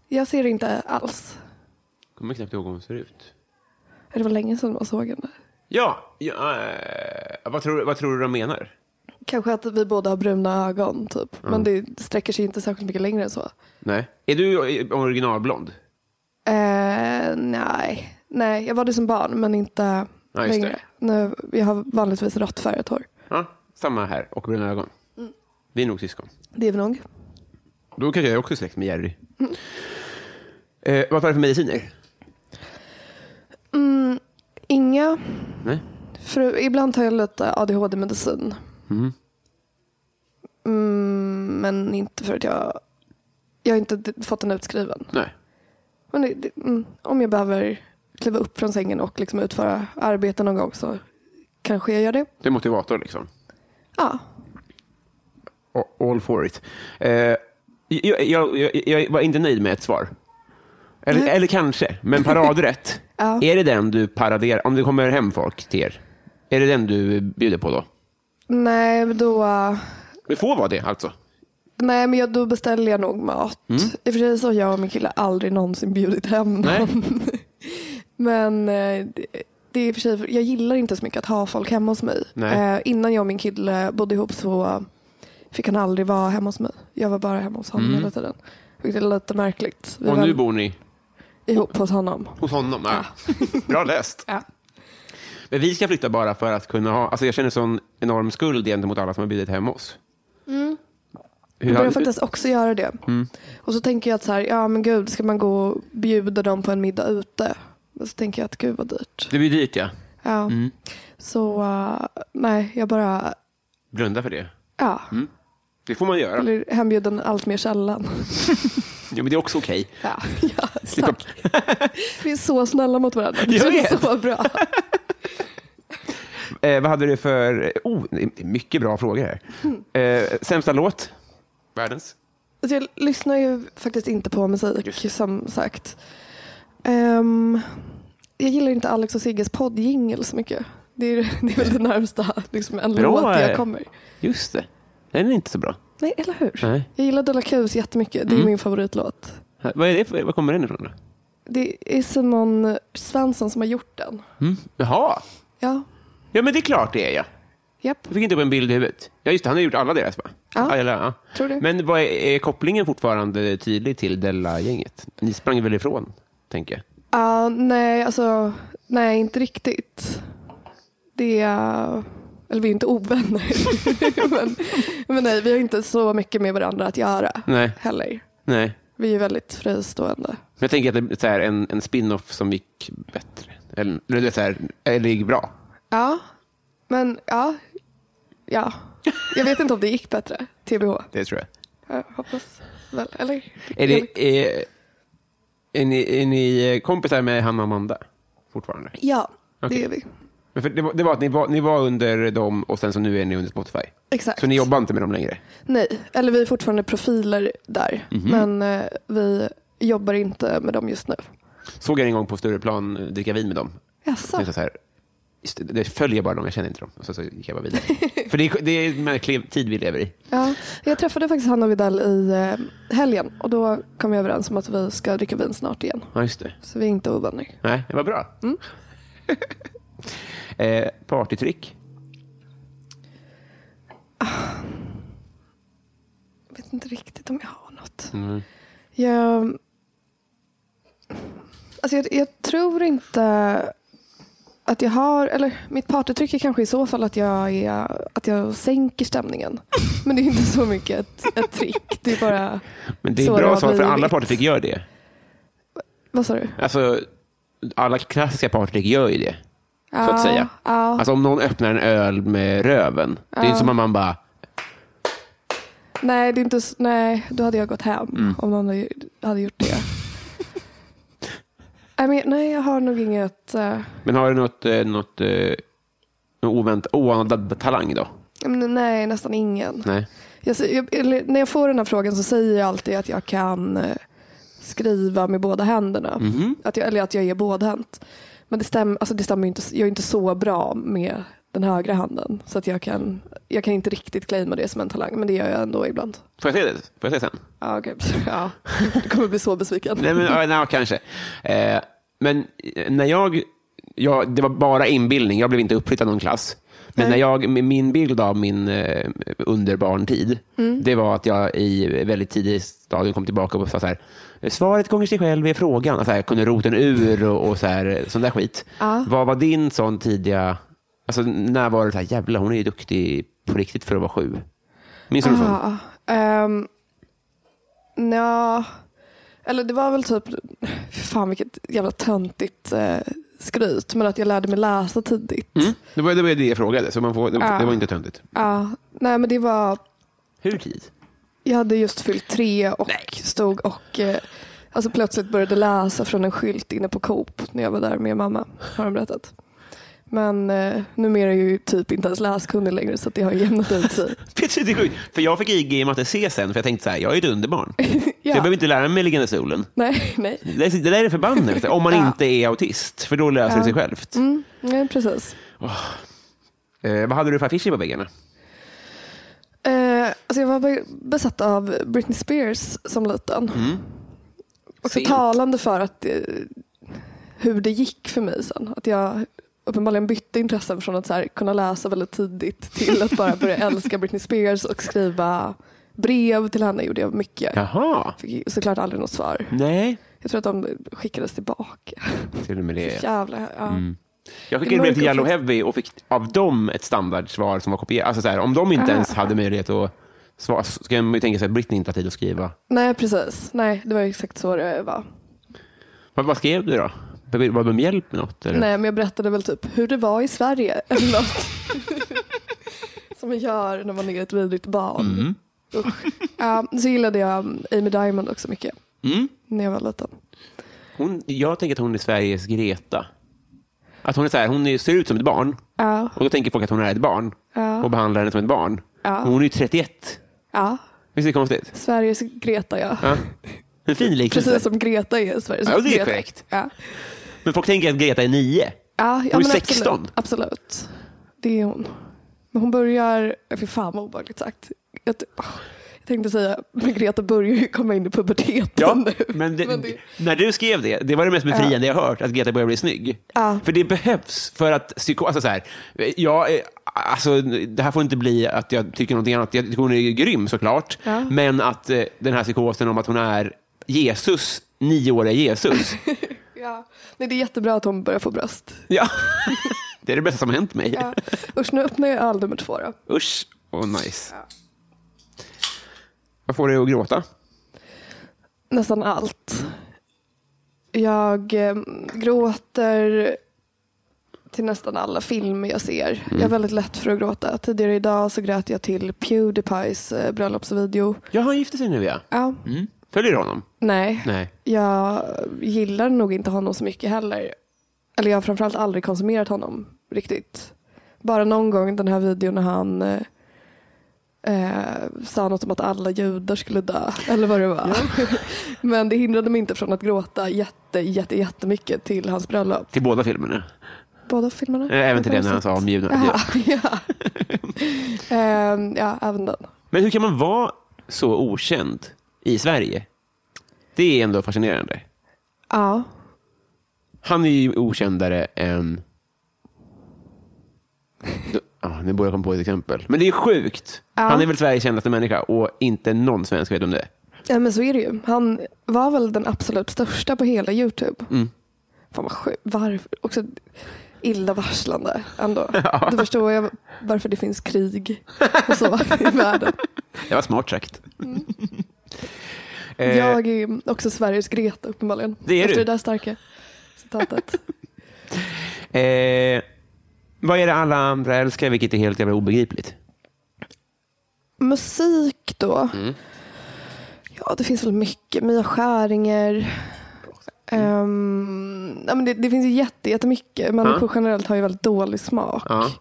Speaker 2: Jag ser inte alls.
Speaker 1: Kommer knappt ihåg hur hon ser ut.
Speaker 2: Det var länge sedan man såg henne.
Speaker 1: Ja, ja eh, vad, tror, vad tror du de menar?
Speaker 2: Kanske att vi båda har bruna ögon, typ.
Speaker 1: Mm.
Speaker 2: men det sträcker sig inte särskilt mycket längre än så.
Speaker 1: Nej. Är du eh, originalblond?
Speaker 2: Eh, nej. nej, jag var det som barn men inte
Speaker 1: Ja, just
Speaker 2: längre. Nu, jag har vanligtvis rått färgat hår.
Speaker 1: Ja, samma här och bruna ögon.
Speaker 2: Mm.
Speaker 1: Vi är nog syskon.
Speaker 2: Det är väl nog.
Speaker 1: Då kanske jag också är släkt med Jerry. Eh, vad tar du för mediciner?
Speaker 2: Mm, Inga,
Speaker 1: Nej.
Speaker 2: för ibland tar jag lite ADHD-medicin. Mm, men inte för att jag, jag har inte d- fått den utskriven.
Speaker 1: Nej.
Speaker 2: Men det, det, mm, om jag behöver kliva upp från sängen och liksom utföra arbete någon gång så kanske jag gör det.
Speaker 1: Det är motivator liksom.
Speaker 2: Ja,
Speaker 1: A- All for it. Eh, jag, jag, jag, jag var inte nöjd med ett svar. Eller, eller kanske, men paradrätt.
Speaker 2: Ja.
Speaker 1: Är det den du paraderar, om det kommer hem folk till er, är det den du bjuder på då?
Speaker 2: nej men då eh,
Speaker 1: Det får vara det alltså?
Speaker 2: Nej, men jag, då beställer jag nog mat. I och för sig så har jag och min kille aldrig någonsin bjudit hem någon.
Speaker 1: Mm. Nej.
Speaker 2: Men eh, det, det är i och för sig, jag gillar inte så mycket att ha folk hemma hos mig.
Speaker 1: Nej.
Speaker 2: Eh, innan jag och min kille bodde ihop så fick han aldrig vara hemma hos mig. Jag var bara hemma hos honom hela tiden. Vilket är lite märkligt. Vi
Speaker 1: Mm. Och
Speaker 2: var
Speaker 1: nu bor ni
Speaker 2: ihop hos honom.
Speaker 1: hos honom? Ja. Bra läst.
Speaker 2: Ja.
Speaker 1: Men vi ska flytta bara för att kunna ha... Alltså jag känner sån enorm skuld gentemot alla som har bjudit hem oss.
Speaker 2: Jag
Speaker 1: Hur
Speaker 2: Mm. börjar
Speaker 1: har, Mm.
Speaker 2: faktiskt också göra det. Och så tänker jag att så här, ja men gud, ska man gå och bjuda dem på en middag ute? Och så tänker jag att gud vad dyrt.
Speaker 1: det blir dyrt, ja.
Speaker 2: Ja.
Speaker 1: Mm.
Speaker 2: Så eh, nej, jag bara,
Speaker 1: Blunda för det.
Speaker 2: ja,
Speaker 1: Mm. Det får man göra.
Speaker 2: blir hembjuden allt mer sällan.
Speaker 1: Ja, men det är också okej.
Speaker 2: Ja, ja
Speaker 1: Slippa-
Speaker 2: tack. Vi är så snälla mot varandra. Det
Speaker 1: Jag
Speaker 2: känns
Speaker 1: vet.
Speaker 2: så bra. Alltså,
Speaker 1: Eh, vad hade du för... Oh, det är mycket bra frågor här. Eh, sämsta låt? Världens?
Speaker 2: Alltså, jag lyssnar ju faktiskt inte på musik, som sagt. Ehm, jag gillar inte Alex och Sigges poddjingel så mycket. Det är, det är väl det närmsta liksom, en
Speaker 1: Bra,
Speaker 2: låt
Speaker 1: eh.
Speaker 2: jag kommer.
Speaker 1: Just det. Den är inte så bra.
Speaker 2: Nej, eller hur?
Speaker 1: Nej.
Speaker 2: Jag gillar Della Qs jättemycket. Det är min favoritlåt.
Speaker 1: Vad, är det för, vad kommer den ifrån? Då?
Speaker 2: Det är Simon Svensson som har gjort den.
Speaker 1: Mm. Jaha.
Speaker 2: Ja,
Speaker 1: Ja, men det är klart det är jag.
Speaker 2: japp.
Speaker 1: Jag fick inte upp en bild i huvudet. Ja, just det. Han har gjort alla deras, va?
Speaker 2: Ja.
Speaker 1: eller, ja.
Speaker 2: Tror det.
Speaker 1: Men vad är, är kopplingen fortfarande tydlig till Della-gänget? Ni sprang väl ifrån, tänker jag.
Speaker 2: Ja, Ah, nej, alltså, nej, inte riktigt. Det är, eller vi är inte ovänner. men, men nej, vi har inte så mycket med varandra att göra
Speaker 1: Nej.
Speaker 2: heller.
Speaker 1: Nej.
Speaker 2: Vi är väldigt fristående.
Speaker 1: Men jag tänker att det är så här en, en spin-off som gick bättre. Eller, eller, det är så här, eller gick bra.
Speaker 2: Ja, men ja. Ja, jag vet inte om det gick bättre. TBH.
Speaker 1: Det tror jag.
Speaker 2: Jag hoppas väl, eller?
Speaker 1: Är det, är, Är ni, är ni kompisar med Hanna och Amanda fortfarande?
Speaker 2: Ja,
Speaker 1: Okej.
Speaker 2: det är vi.
Speaker 1: Men för Det var, det var att ni var, ni var under dem och sen så nu är ni under Spotify.
Speaker 2: Exakt.
Speaker 1: Så ni jobbar inte med dem längre?
Speaker 2: Nej, eller vi är fortfarande profiler där.
Speaker 1: Mhm.
Speaker 2: Men eh, vi jobbar inte med dem just nu.
Speaker 1: Såg jag en gång på Stureplan eh, dricka vin med dem.
Speaker 2: Jaså?
Speaker 1: Så. Så här, just det, det följer bara dem, jag känner inte dem. Och så, så gick jag bara vidare. för det är, det är en märklig tid vi lever i.
Speaker 2: Ja, jag träffade faktiskt Hanna Vidal i eh, helgen och då kom vi överens om att vi ska dricka vin snart igen.
Speaker 1: Ja, just det. Mm.
Speaker 2: Så vi är inte ovänner.
Speaker 1: Nej, det var bra. eh, partytrick?
Speaker 2: Jag vet inte riktigt om jag har något. Jag, alltså jag, jag tror inte att jag har, eller mitt partytryck är kanske i så fall att jag, är, att jag sänker stämningen. Men det är inte så mycket ett, ett trick. Det är bara,
Speaker 1: Men det är
Speaker 2: Så det
Speaker 1: bra
Speaker 2: har
Speaker 1: svar, för alla
Speaker 2: blivit.
Speaker 1: partytrick gör det.
Speaker 2: vad sa du?
Speaker 1: Alltså, alla klassiska partytrick gör ju det. så att
Speaker 2: Ja,
Speaker 1: säga.
Speaker 2: ja.
Speaker 1: Alltså om någon öppnar en öl med röven, det är ju inte som att man bara,
Speaker 2: Nej, det är inte, s- nej, då hade jag gått hem
Speaker 1: Mm.
Speaker 2: om någon hade- hade gjort det. Nej, men, nej, jag har nog inget. eh,
Speaker 1: men har du något, eh, något, eh, något oväntat, oanad talang då?
Speaker 2: men nej, nästan ingen.
Speaker 1: Nej.
Speaker 2: Jag, sä- jag, eller, när jag får den här frågan så säger jag alltid att jag kan eh, skriva med båda händerna.
Speaker 1: Mhm.
Speaker 2: Att jag, eller att jag är bådhänt. Men det, stäm, alltså det stämmer ju inte. s- Jag är inte så bra med den högra handen. Så att jag kan, jag kan inte riktigt claima det som en talang. Men det gör jag ändå ibland.
Speaker 1: Får jag se det? Får jag se sen?
Speaker 2: Ja, okay. ja. Du kommer bli så besviken.
Speaker 1: Nej, men, ja, nej, kanske. Eh, men eh, när jag, jag, det var bara inbildning, jag blev inte uppflyttad någon klass. Men när
Speaker 2: Nej.
Speaker 1: jag, min bild av min eh, underbarntid,
Speaker 2: Mm.
Speaker 1: det var att jag i väldigt tidig stadium kom tillbaka och sa så här, svaret gånger sig själv är frågan. Alltså, jag kunde roten ur och, och så här, sån där skit. Vad var din sån tidiga, alltså, när var det så här, jävlar hon är ju duktig på riktigt för att vara sju. Minns du någon sån?
Speaker 2: Ja. Um, nja. Eller det var väl typ, fy fan vilket jävla töntigt eh, skryt, men att jag lärde mig läsa tidigt.
Speaker 1: Mm. Det, var, det var det jag frågade, så man får, det,
Speaker 2: Ja.
Speaker 1: det var inte töntigt.
Speaker 2: Ja, nej men det var,
Speaker 1: Hur tid?
Speaker 2: jag hade just fyllt tre och stod och eh, alltså plötsligt började läsa från en skylt inne på Coop när jag var där med mamma, har de berättat. Men eh, numera är jag ju typ inte ens läskunnig längre så att det har jämnat ut sig.
Speaker 1: Precis, det är sjukt. För jag fick IG i matte C sen, för jag tänkte så här, jag är ett underbarn. Så jag behöver inte lära mig liggande solen.
Speaker 2: Nej, nej.
Speaker 1: Det där- det där är förbannelse, om man
Speaker 2: Ja.
Speaker 1: inte är autist, för då löser det sig självt.
Speaker 2: Mm, nej, precis.
Speaker 1: Eh, vad hade du för affischer på väggarna?
Speaker 2: Eh, alltså jag var be- besatt av Britney Spears som liten. Och så
Speaker 1: Sent.
Speaker 2: talande för att eh, hur det gick för mig sen. Att jag uppenbarligen bytte intressen från att så här, kunna läsa väldigt tidigt till att bara börja älska Britney Spears och skriva brev till henne gjorde jag mycket.
Speaker 1: Jaha,
Speaker 2: Fick såklart aldrig något svar.
Speaker 1: nej.
Speaker 2: Jag tror att de skickades tillbaka.
Speaker 1: Till och med det.
Speaker 2: Jävlar. Ja. Mm.
Speaker 1: Jag skickade
Speaker 2: Det
Speaker 1: brev till
Speaker 2: mörker-
Speaker 1: Yellow Heavy och fick av dem ett standardsvar som var kopierat. Alltså så här, om de inte
Speaker 2: Ah.
Speaker 1: ens hade möjlighet att svara, så ska man ju tänka sig att Britney inte har tid att skriva.
Speaker 2: Nej, precis. Nej, det var exakt så det var.
Speaker 1: Vad, vad skrev du då? Be- Bad du om hjälp med något? Eller?
Speaker 2: Nej, men jag berättade väl typ hur det var i Sverige eller något. Som man gör när man är ett vidrigt barn.
Speaker 1: Mhm.
Speaker 2: Usch. Ja, så gillade jag um, Amy Diamond också mycket
Speaker 1: Mm.
Speaker 2: när jag var liten.
Speaker 1: Hon, jag tänker att hon är Sveriges Greta. Att hon, är så här, hon är- ser ut som ett barn,
Speaker 2: Ja,
Speaker 1: Och då tänker folk att hon är ett barn och behandlar henne som ett barn.
Speaker 2: Ja.
Speaker 1: Men hon är ju 31.
Speaker 2: ja.
Speaker 1: Visst är det konstigt?
Speaker 2: Sveriges Greta ja.
Speaker 1: Ja. En fin liknelse.
Speaker 2: Precis som Greta är Sveriges
Speaker 1: Ja, det är
Speaker 2: Greta.
Speaker 1: korrekt.
Speaker 2: Ja.
Speaker 1: Men folk tänker att Greta är nio.
Speaker 2: Ja, ja,
Speaker 1: Hon är
Speaker 2: men
Speaker 1: 16.
Speaker 2: Absolut. absolut. Det är hon. Men hon börjar, ja, fy fan vad obehagligt sagt. Jag, t- åh, jag tänkte säga, men Greta börjar ju komma in i puberteten nu.
Speaker 1: Men, det,
Speaker 2: Men det-
Speaker 1: när du skrev det, det var det mest befriande jag hört, att Greta börjar bli snygg.
Speaker 2: Ja.
Speaker 1: För det behövs för att psyko... Alltså så här, jag, är- alltså, det här får inte bli att jag tycker någonting annat. Jag tycker hon är grym såklart,
Speaker 2: Ja.
Speaker 1: men att eh, den här psykosen om att hon är Jesus, nioåriga Jesus.
Speaker 2: Ja. Nej, det är jättebra att hon börjar få bröst.
Speaker 1: ja. Det är det bästa som har hänt mig.
Speaker 2: Ja. Usch, nu öppnar jag öl nummer två då.
Speaker 1: Usch, och nice. Vad får dig att gråta?
Speaker 2: Nästan allt. Jag eh, gråter till nästan alla filmer jag ser. Jag är väldigt lätt för att gråta. Tidigare idag så grät jag till Pewdiepies eh, bröllopsvideo.
Speaker 1: Ja, han gifte sig nu ja.
Speaker 2: Ja.
Speaker 1: Mm. Följer du honom?
Speaker 2: Nej.
Speaker 1: Nej.
Speaker 2: Jag gillar nog inte honom så mycket heller. Eller jag har framförallt aldrig konsumerat honom riktigt. Bara någon gång den här videon när han eh, eh, sa något om att alla judar skulle dö. Eller vad det var. Men det hindrade mig inte från att gråta jätte, jätte, jättemycket till hans bröllop.
Speaker 1: Till båda filmerna?
Speaker 2: Båda filmerna?
Speaker 1: Eh, Även till den när han sa om judarna.
Speaker 2: Jaha, ja. Ehm, ja, även den.
Speaker 1: Men hur kan man vara så okänd i Sverige? Det är ändå fascinerande.
Speaker 2: Ja.
Speaker 1: Han är ju okändare än... Ja, nu borde jag komma på ett exempel. Men det är sjukt. Han är väl Sveriges kändaste människa och inte någon svensk vet om det.
Speaker 2: ja, men så är det ju. Han var väl den absolut största på hela Youtube.
Speaker 1: Mm.
Speaker 2: Fan vad sjukt. Varför? Också illavarslande ändå. Då förstår jag varför det finns krig och så i världen.
Speaker 1: Det var smart sagt. Eh,
Speaker 2: Mm. Jag är ju också Sveriges Greta uppenbarligen.
Speaker 1: Det är
Speaker 2: Efter
Speaker 1: du.
Speaker 2: det där starka citatet.
Speaker 1: eh, vad är det alla andra älskar, vilket är helt jävla obegripligt?
Speaker 2: Musik då?
Speaker 1: Mm.
Speaker 2: Ja, det finns väl mycket. Mia Skäringer. Ehm, ja, men det, det finns ju jätte, jättemycket. Människor generellt har ju väldigt dålig smak.
Speaker 1: Ja.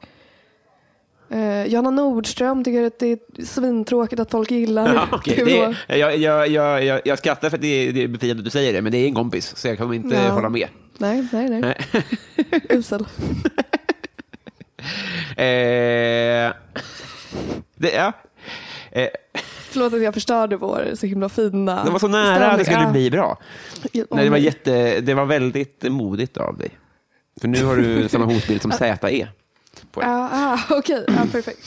Speaker 2: Eh, Johanna Nordström tycker att det är svintråkigt att folk gillar.
Speaker 1: Ja, okej.
Speaker 2: Det är
Speaker 1: det
Speaker 2: då-
Speaker 1: är, jag, jag, jag, jag, jag skrattar för att det är, det är befriande att du säger det, men det är en kompis, så jag kommer inte
Speaker 2: Ja.
Speaker 1: hålla med.
Speaker 2: Nej, nej, nej.
Speaker 1: Nej.
Speaker 2: Usel.
Speaker 1: Eh, det, ja. eh,
Speaker 2: Förlåt att jag förstörde vår så himla fina
Speaker 1: det var så nära att det skulle bli bra.
Speaker 2: Ja,
Speaker 1: Nej, det, var jätte, det var väldigt modigt av dig. För nu har du samma hotbild som ZE. på dig.
Speaker 2: Ja, ah, okej. Ja, perfekt.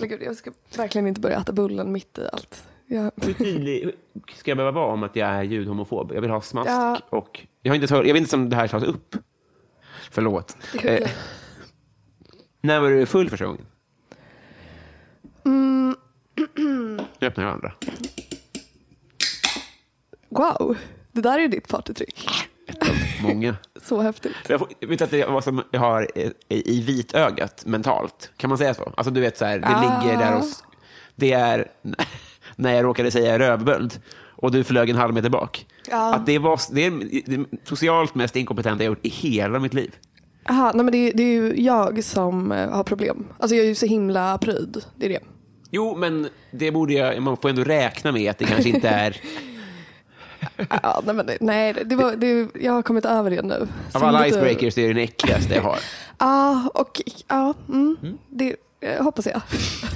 Speaker 2: Men gud, jag ska verkligen inte börja äta bullen mitt i allt. Jag,
Speaker 1: Hur tydlig ska jag behöva vara om att jag är ljudhomofob? Jag vill ha smask
Speaker 2: Ja.
Speaker 1: och... Jag, har inte ens hört, jag vet inte om det här tas upp. Förlåt. Eh, när var du full första gången? Mm. Nu öppnar jag andra.
Speaker 2: wow, det där är ju ditt partytrick.
Speaker 1: Många.
Speaker 2: Så häftigt.
Speaker 1: Jag får- vet att det är vad som jag har eh, i vitögat mentalt. Kan man säga så? Alltså du vet så här, det
Speaker 2: Ah.
Speaker 1: ligger där och... s- Det är när jag råkade säga rövböld och du flög en halv meter bak.
Speaker 2: Ja.
Speaker 1: Att det, var, det är det socialt mest inkompetenta jag gjort i hela mitt liv.
Speaker 2: Aha, nej men det, är- det är ju jag som eh, har problem. Alltså jag är ju så himla pryd. Det är det.
Speaker 1: Jo, men det borde jag, man får ändå räkna med att det kanske inte är...
Speaker 2: Ja, nej, men det, nej, det var, det, jag har kommit över det nu.
Speaker 1: Av alla icebreakers det är det den äckligaste jag har.
Speaker 2: Ja, och ja, mm, det eh, hoppas jag.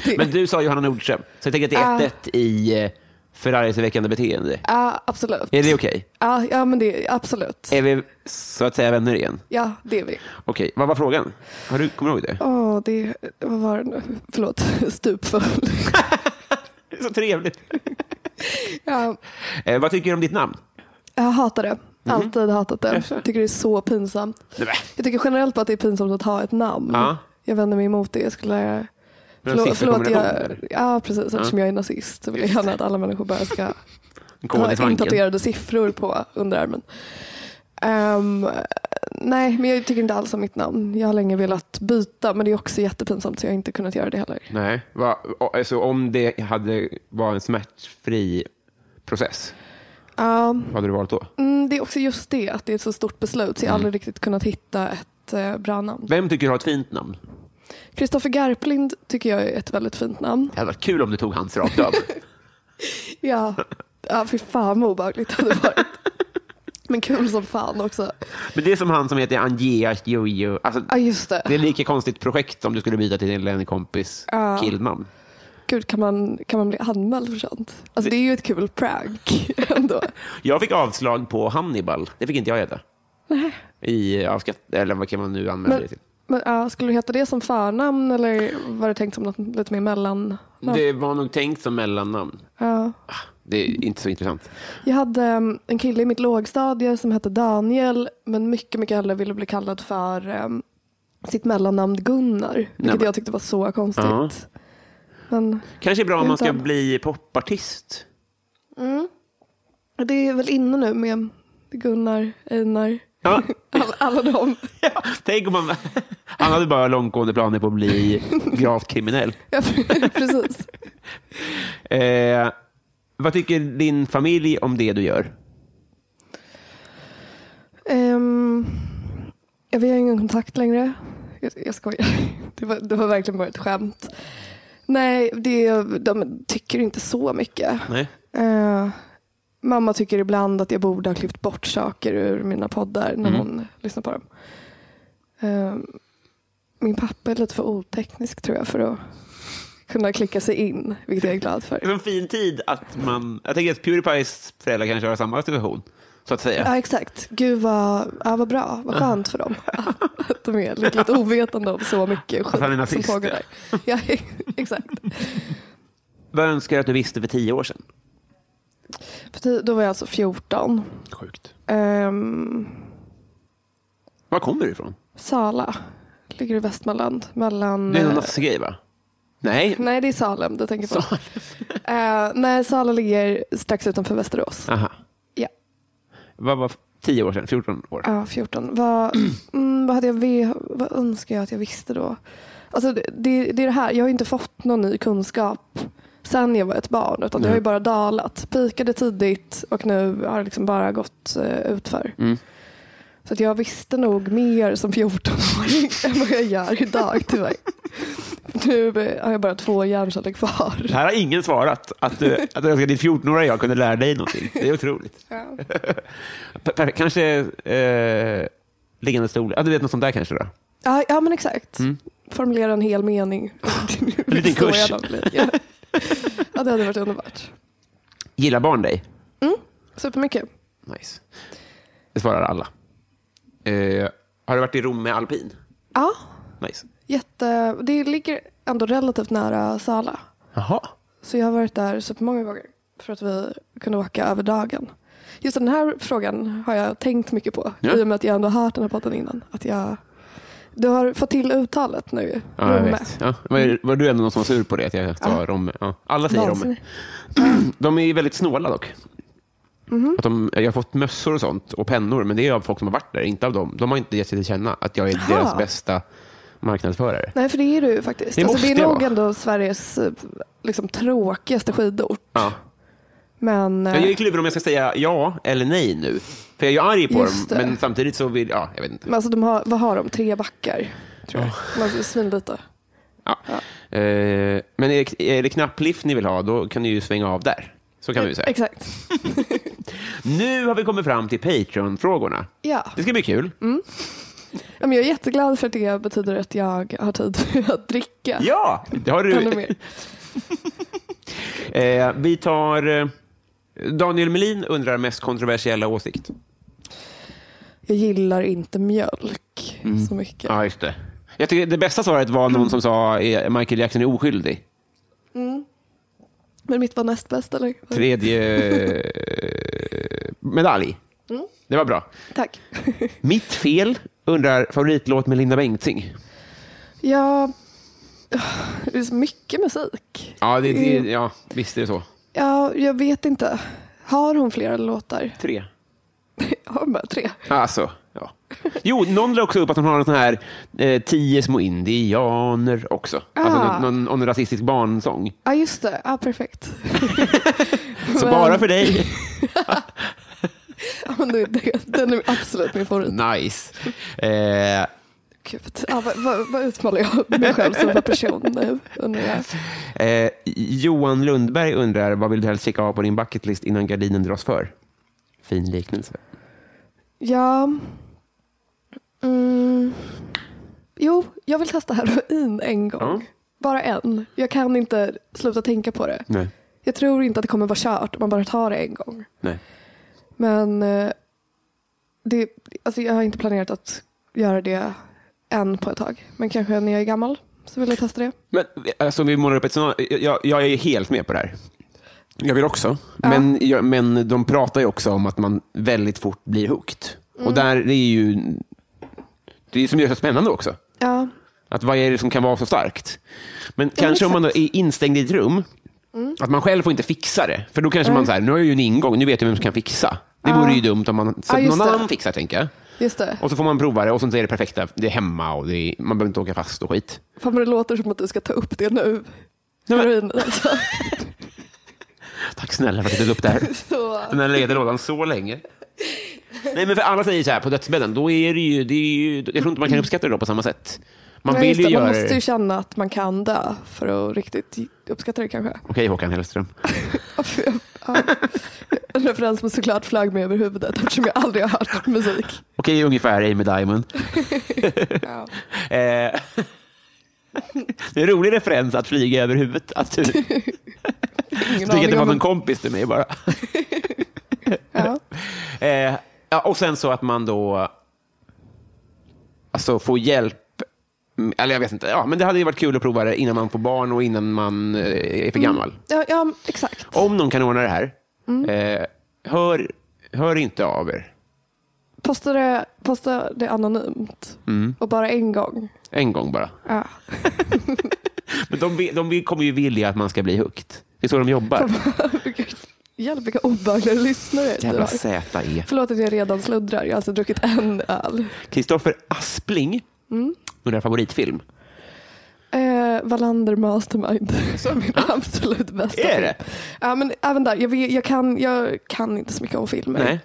Speaker 2: Det,
Speaker 1: Men du sa Johanna Nordström, så jag tänker
Speaker 2: Ah.
Speaker 1: att det är 1-1 i eh, förargelseväckande beteende.
Speaker 2: Ja, absolut.
Speaker 1: Är det okej?
Speaker 2: Ja, ja, men det absolut.
Speaker 1: Är vi så att säga vänner igen?
Speaker 2: Ja, det är vi.
Speaker 1: Okej, vad var frågan? Har du, kommer du ihåg det?
Speaker 2: Åh, det, vad var det nu? Förlåt, stupfull.
Speaker 1: Det är så trevligt.
Speaker 2: Ja,
Speaker 1: Eh, vad tycker du om ditt namn?
Speaker 2: jag hatar det.
Speaker 1: Mhm.
Speaker 2: Alltid hatat det.
Speaker 1: Jaså?
Speaker 2: Jag tycker det är så pinsamt.
Speaker 1: Nej, men.
Speaker 2: Jag tycker generellt bara att det är pinsamt att ha ett namn.
Speaker 1: Ja.
Speaker 2: Jag vänder mig emot det. Jag skulle...
Speaker 1: Men sifferkombination,
Speaker 2: jag,
Speaker 1: eller?
Speaker 2: ja, precis. Eftersom jag är nazist så vill jag gärna att alla människor bara ska
Speaker 1: En kod i
Speaker 2: ha
Speaker 1: svanken.
Speaker 2: intatuerade siffror på underarmen. Ehm, nej, men jag tycker inte alls om mitt namn. Jag har länge velat byta, men det är också jättepinsamt så jag har inte kunnat göra det heller.
Speaker 1: Nej, va, o- alltså, om det hade var en smärtfri process,
Speaker 2: Ja,
Speaker 1: vad hade du valt då?
Speaker 2: mm, det är också just det, att det är ett så stort beslut så jag har aldrig riktigt kunnat hitta ett eh, bra namn.
Speaker 1: Vem tycker du har ett fint namn?
Speaker 2: Kristoffer Garplind tycker jag är ett väldigt fint namn.
Speaker 1: Det hade varit kul om du tog hans rakt av.
Speaker 2: Ja, ja fy fan vad obehagligt det hade varit. Men kul som fan också.
Speaker 1: Men det är som han som heter Angea Jojo. Alltså,
Speaker 2: Ja, just det.
Speaker 1: det är lika konstigt projekt om du skulle byta till en kompis
Speaker 2: Ja.
Speaker 1: killnamn.
Speaker 2: Gud, kan man, kan man bli anmäld för sånt? Alltså, det är ju ett kul prank ändå.
Speaker 1: Jag fick avslag på Hannibal. Det fick inte jag heta. I, av skatt, eller vad kan man nu använda Alltså, det typ-
Speaker 2: Men,
Speaker 1: till?
Speaker 2: men ja, skulle du heta det som förnamn eller var det tänkt som något lite mer mellan?
Speaker 1: Det var nog tänkt som mellannamn.
Speaker 2: Ja.
Speaker 1: Det är inte så intressant.
Speaker 2: Jag hade em, en kille i mitt lågstadie som hette Daniel men mycket, mycket hellre ville bli kallad för em, sitt mellannamn Gunnar. Vilket
Speaker 1: men-
Speaker 2: jag tyckte var så konstigt.
Speaker 1: Ja.
Speaker 2: Men
Speaker 1: Kanske är bra om man ska
Speaker 2: Inte.
Speaker 1: bli popartist.
Speaker 2: det är väl inne nu med Gunnar, Einar,
Speaker 1: Ja.
Speaker 2: alla, alla de.
Speaker 1: Ja, tänk om man... Han hade bara långtgående planer på att bli gravt kriminell.
Speaker 2: Ja, precis.
Speaker 1: Eh, Vad tycker din familj om det du gör?
Speaker 2: Ehm, ja, vi har ingen kontakt längre. Jag, jag skojar. Det var, det var verkligen bara ett skämt. Nej, det, de tycker inte så mycket.
Speaker 1: Nej.
Speaker 2: Eh, mamma tycker ibland att jag borde ha klippt bort saker ur mina poddar när hon lyssnar på dem. Eh, min pappa är lite för oteknisk tror jag för att kunna klicka sig in, vilket jag är glad
Speaker 1: Det
Speaker 2: för.
Speaker 1: är en fin tid att man... Jag tänker att Pewdiepies föräldrar kanske har samma situation, så att säga.
Speaker 2: Ja exakt. Gud vad, ja, vad bra, vad skönt för dem. Att de är lite, lite ovetande om så mycket skit
Speaker 1: han är
Speaker 2: som
Speaker 1: nazist,
Speaker 2: pågår
Speaker 1: ja.
Speaker 2: där. Ja, exakt.
Speaker 1: Vad önskar du att du visste för tio år sedan?
Speaker 2: För ti- Då var jag alltså 14.
Speaker 1: Sjukt.
Speaker 2: Ehm,
Speaker 1: Var kommer du ifrån?
Speaker 2: Sala ligger i Västmanland. Mellan,
Speaker 1: Det är någon
Speaker 2: eh,
Speaker 1: nazistgrej, va? Nej.
Speaker 2: Nej, det är Salem du tänker på. Eh, nej, Sala ligger strax utanför Västerås.
Speaker 1: Aha.
Speaker 2: Ja.
Speaker 1: Vad var tio år sedan? 14 år?
Speaker 2: Ja, 14. Vad, mm, vad, hade jag, ve- vad önskar jag att jag visste då? Alltså, det, det, det är det här, jag har inte fått någon ny kunskap sen jag var ett barn. Utan det har ju bara dalat. Pikade tidigt och nu har det liksom bara gått uh, utför.
Speaker 1: Mm.
Speaker 2: Så att jag visste nog mer som 14-åring än vad jag gör idag tyvärr. nu eh, har jag bara två hjärnceller kvar.
Speaker 1: Här har ingen svarat att du, att du önskar att ditt 14-åriga jag kunde lära dig någonting. Det är otroligt.
Speaker 2: Ja.
Speaker 1: Per- per- Kanske eh, liggande stol. Ja, du vet något sånt där kanske då?
Speaker 2: Ja, ja men exakt. Formulera en hel mening. en
Speaker 1: Mm. liten kurs.
Speaker 2: Ja. ja, det hade varit underbart.
Speaker 1: Gillar barn dig?
Speaker 2: Supermycket.
Speaker 1: Nice. Det svarar alla. Eh, har du varit i Rom med alpin?
Speaker 2: Ja,
Speaker 1: Nice.
Speaker 2: jätte... Det ligger ändå relativt nära Sala.
Speaker 1: Jaha.
Speaker 2: Så jag har varit där supermånga gånger för att vi kunde åka över dagen. Just den här frågan har jag tänkt mycket på
Speaker 1: Ja.
Speaker 2: i och med att jag ändå har hört den här podden innan. Att jag... Du har fått till uttalet nu. ju.
Speaker 1: Ja, jag
Speaker 2: Romme.
Speaker 1: vet. Ja, var, var du ändå någon som var sur på det? Att jag sa Romme? Ja. Alla säger Romme.
Speaker 2: Vansinnig.
Speaker 1: De är ju väldigt snåla dock.
Speaker 2: Mhm.
Speaker 1: Att de, jag har fått mössor och sånt och pennor, men det är av folk som har varit där, inte av dem. De har inte gett sig till känna att jag är
Speaker 2: Aha.
Speaker 1: deras bästa marknadsförare.
Speaker 2: Nej, för det är du ju faktiskt.
Speaker 1: Det
Speaker 2: Det, alltså, det
Speaker 1: måste
Speaker 2: är
Speaker 1: jag
Speaker 2: nog
Speaker 1: vara.
Speaker 2: ändå Sveriges eh, liksom, tråkigaste skidort.
Speaker 1: Ja.
Speaker 2: Men eh,
Speaker 1: Jag är kluven om jag ska säga ja eller nej nu. För jag är arg på
Speaker 2: Just
Speaker 1: dem,
Speaker 2: det.
Speaker 1: men samtidigt så vill jag... Jag vet inte.
Speaker 2: men alltså, de har, vad har de? Tre backar? Tror jag. De har Svinlite.
Speaker 1: Ja. Eh, men är det, är det knapplift ni vill ha, då kan ni ju svänga av där. Så kan vi ju säga.
Speaker 2: Exakt.
Speaker 1: Nu har vi kommit fram till Patreon-frågorna.
Speaker 2: Ja.
Speaker 1: Det ska bli kul.
Speaker 2: Mm. Ja, men jag är jätteglad för att det betyder att jag har tid att dricka.
Speaker 1: Ja! Det har du.
Speaker 2: Ännu mer.
Speaker 1: Eh, vi tar... Eh, Daniel Melin undrar mest kontroversiella åsikt.
Speaker 2: Jag gillar inte mjölk så mycket.
Speaker 1: Mm. Ja, just det. Jag tycker det bästa svaret var någon som sa eh, Michael Jackson är oskyldig.
Speaker 2: Men mitt var näst bäst, eller?
Speaker 1: Tredje eh, medalj. Det var bra.
Speaker 2: Tack.
Speaker 1: Mitt fel undrar favoritlåt med Linda Bengtzing.
Speaker 2: Ja, det är så mycket musik.
Speaker 1: Ja, det, det, ja visst är det så.
Speaker 2: Ja, jag vet inte. Har hon flera låtar?
Speaker 1: Tre.
Speaker 2: Har hon bara tre?
Speaker 1: Alltså, ja. Jo, någon la också upp att hon har en sån här eh, tio små indianer också. Alltså
Speaker 2: Ah.
Speaker 1: någon, någon, någon rasistisk barnsång.
Speaker 2: Ja, just det. Ja, perfekt.
Speaker 1: Så
Speaker 2: Men-
Speaker 1: bara för dig.
Speaker 2: Ja, men det- det- Den är absolut min favorit.
Speaker 1: Nice. Eh,
Speaker 2: Gud. Ja, vad, vad, vad utmanar jag mig själv som för person nu? undrar jag.
Speaker 1: eh, Johan Lundberg undrar, vad vill du helst checka av på din bucketlist innan gardinen dras för? Fin liknelse.
Speaker 2: Ja. Mm. Jo, jag vill testa heroin en gång.
Speaker 1: Ja.
Speaker 2: Bara en. Jag kan inte sluta tänka på det.
Speaker 1: Nej.
Speaker 2: Jag tror inte att det kommer vara kört om man bara tar det en gång.
Speaker 1: Nej.
Speaker 2: Men eh, det, alltså jag har inte planerat att göra det än på ett tag. Men kanske när jag är gammal så vill jag testa det.
Speaker 1: Men alltså, vi målar upp ett scenario. Jag, jag är helt med på det här. Jag vill också. Men, jag, men de pratar ju också om att man väldigt fort blir hooked. Och där det är ju... Det är ju som gör det så spännande också.
Speaker 2: Ja,
Speaker 1: Att vad är det som kan vara så starkt? Men kanske om man då
Speaker 2: exakt. Mm.
Speaker 1: är instängd i ett rum, att man själv får inte fixa det. För då kanske man säger, nu har jag ju en ingång, nu vet jag vem som kan fixa. Det vore ju dumt om man, så
Speaker 2: Ja,
Speaker 1: att
Speaker 2: just
Speaker 1: någon
Speaker 2: det.
Speaker 1: annan fixar, tänker jag.
Speaker 2: just det.
Speaker 1: Och så får man prova det och sen är det perfekta, det är hemma och det är, man behöver inte åka fast och skit.
Speaker 2: Fan vad det låter som att du ska ta upp det nu.
Speaker 1: Nej, men-
Speaker 2: Heroin alltså.
Speaker 1: Tack snälla för att du tog upp det här.
Speaker 2: Så,
Speaker 1: Den här leder lådan så länge. Nej, men för alla säger så här på dödsbädden, då är det ju, det är ju, jag tror inte man kan uppskatta det då på samma sätt. Man
Speaker 2: Nej,
Speaker 1: vill
Speaker 2: just
Speaker 1: ju
Speaker 2: det,
Speaker 1: göra
Speaker 2: man
Speaker 1: det.
Speaker 2: måste ju
Speaker 1: Okej,
Speaker 2: känna att man kan dö för att riktigt uppskatta det kanske.
Speaker 1: Håkan Hellström.
Speaker 2: Ja. En referens som såklart flög mig över huvudet eftersom jag aldrig har hört musik.
Speaker 1: Okej, ungefär Amy Diamond.
Speaker 2: Ja.
Speaker 1: Eh, det är en rolig referens att flyga över huvudet. Att du tycker
Speaker 2: Ingen
Speaker 1: att det
Speaker 2: aning
Speaker 1: var
Speaker 2: om
Speaker 1: någon kompis till mig bara.
Speaker 2: ja.
Speaker 1: Eh, ja, och sen så att man då alltså får hjälp. Mm, Eller jag vet inte. Ja, men det hade ju varit kul att prova det innan man får barn och innan man eh, är för gammal.
Speaker 2: Ja, ja, exakt.
Speaker 1: Om någon kan ordna det här, eh, hör, hör inte av er.
Speaker 2: Posta det, posta det anonymt
Speaker 1: Mm.
Speaker 2: och bara en gång.
Speaker 1: En gång bara.
Speaker 2: Ja.
Speaker 1: Men de, vill- de vill- kommer ju vilja att man ska bli hooked. Det är så de jobbar.
Speaker 2: Hjälp vilka obehagliga lyssnare du
Speaker 1: Jävla E.
Speaker 2: har.
Speaker 1: ZE.
Speaker 2: Förlåt att jag redan sluddrar. Jag har alltså druckit en öl.
Speaker 1: Kristoffer Aspling, undrar favoritfilm.
Speaker 2: Eh, Wallander Mastermind. Som min absolut bästa
Speaker 1: Ah. Är det?
Speaker 2: film. Ja, men även där. Jag, vet, jag, kan, jag kan inte så mycket om filmer.
Speaker 1: Nej.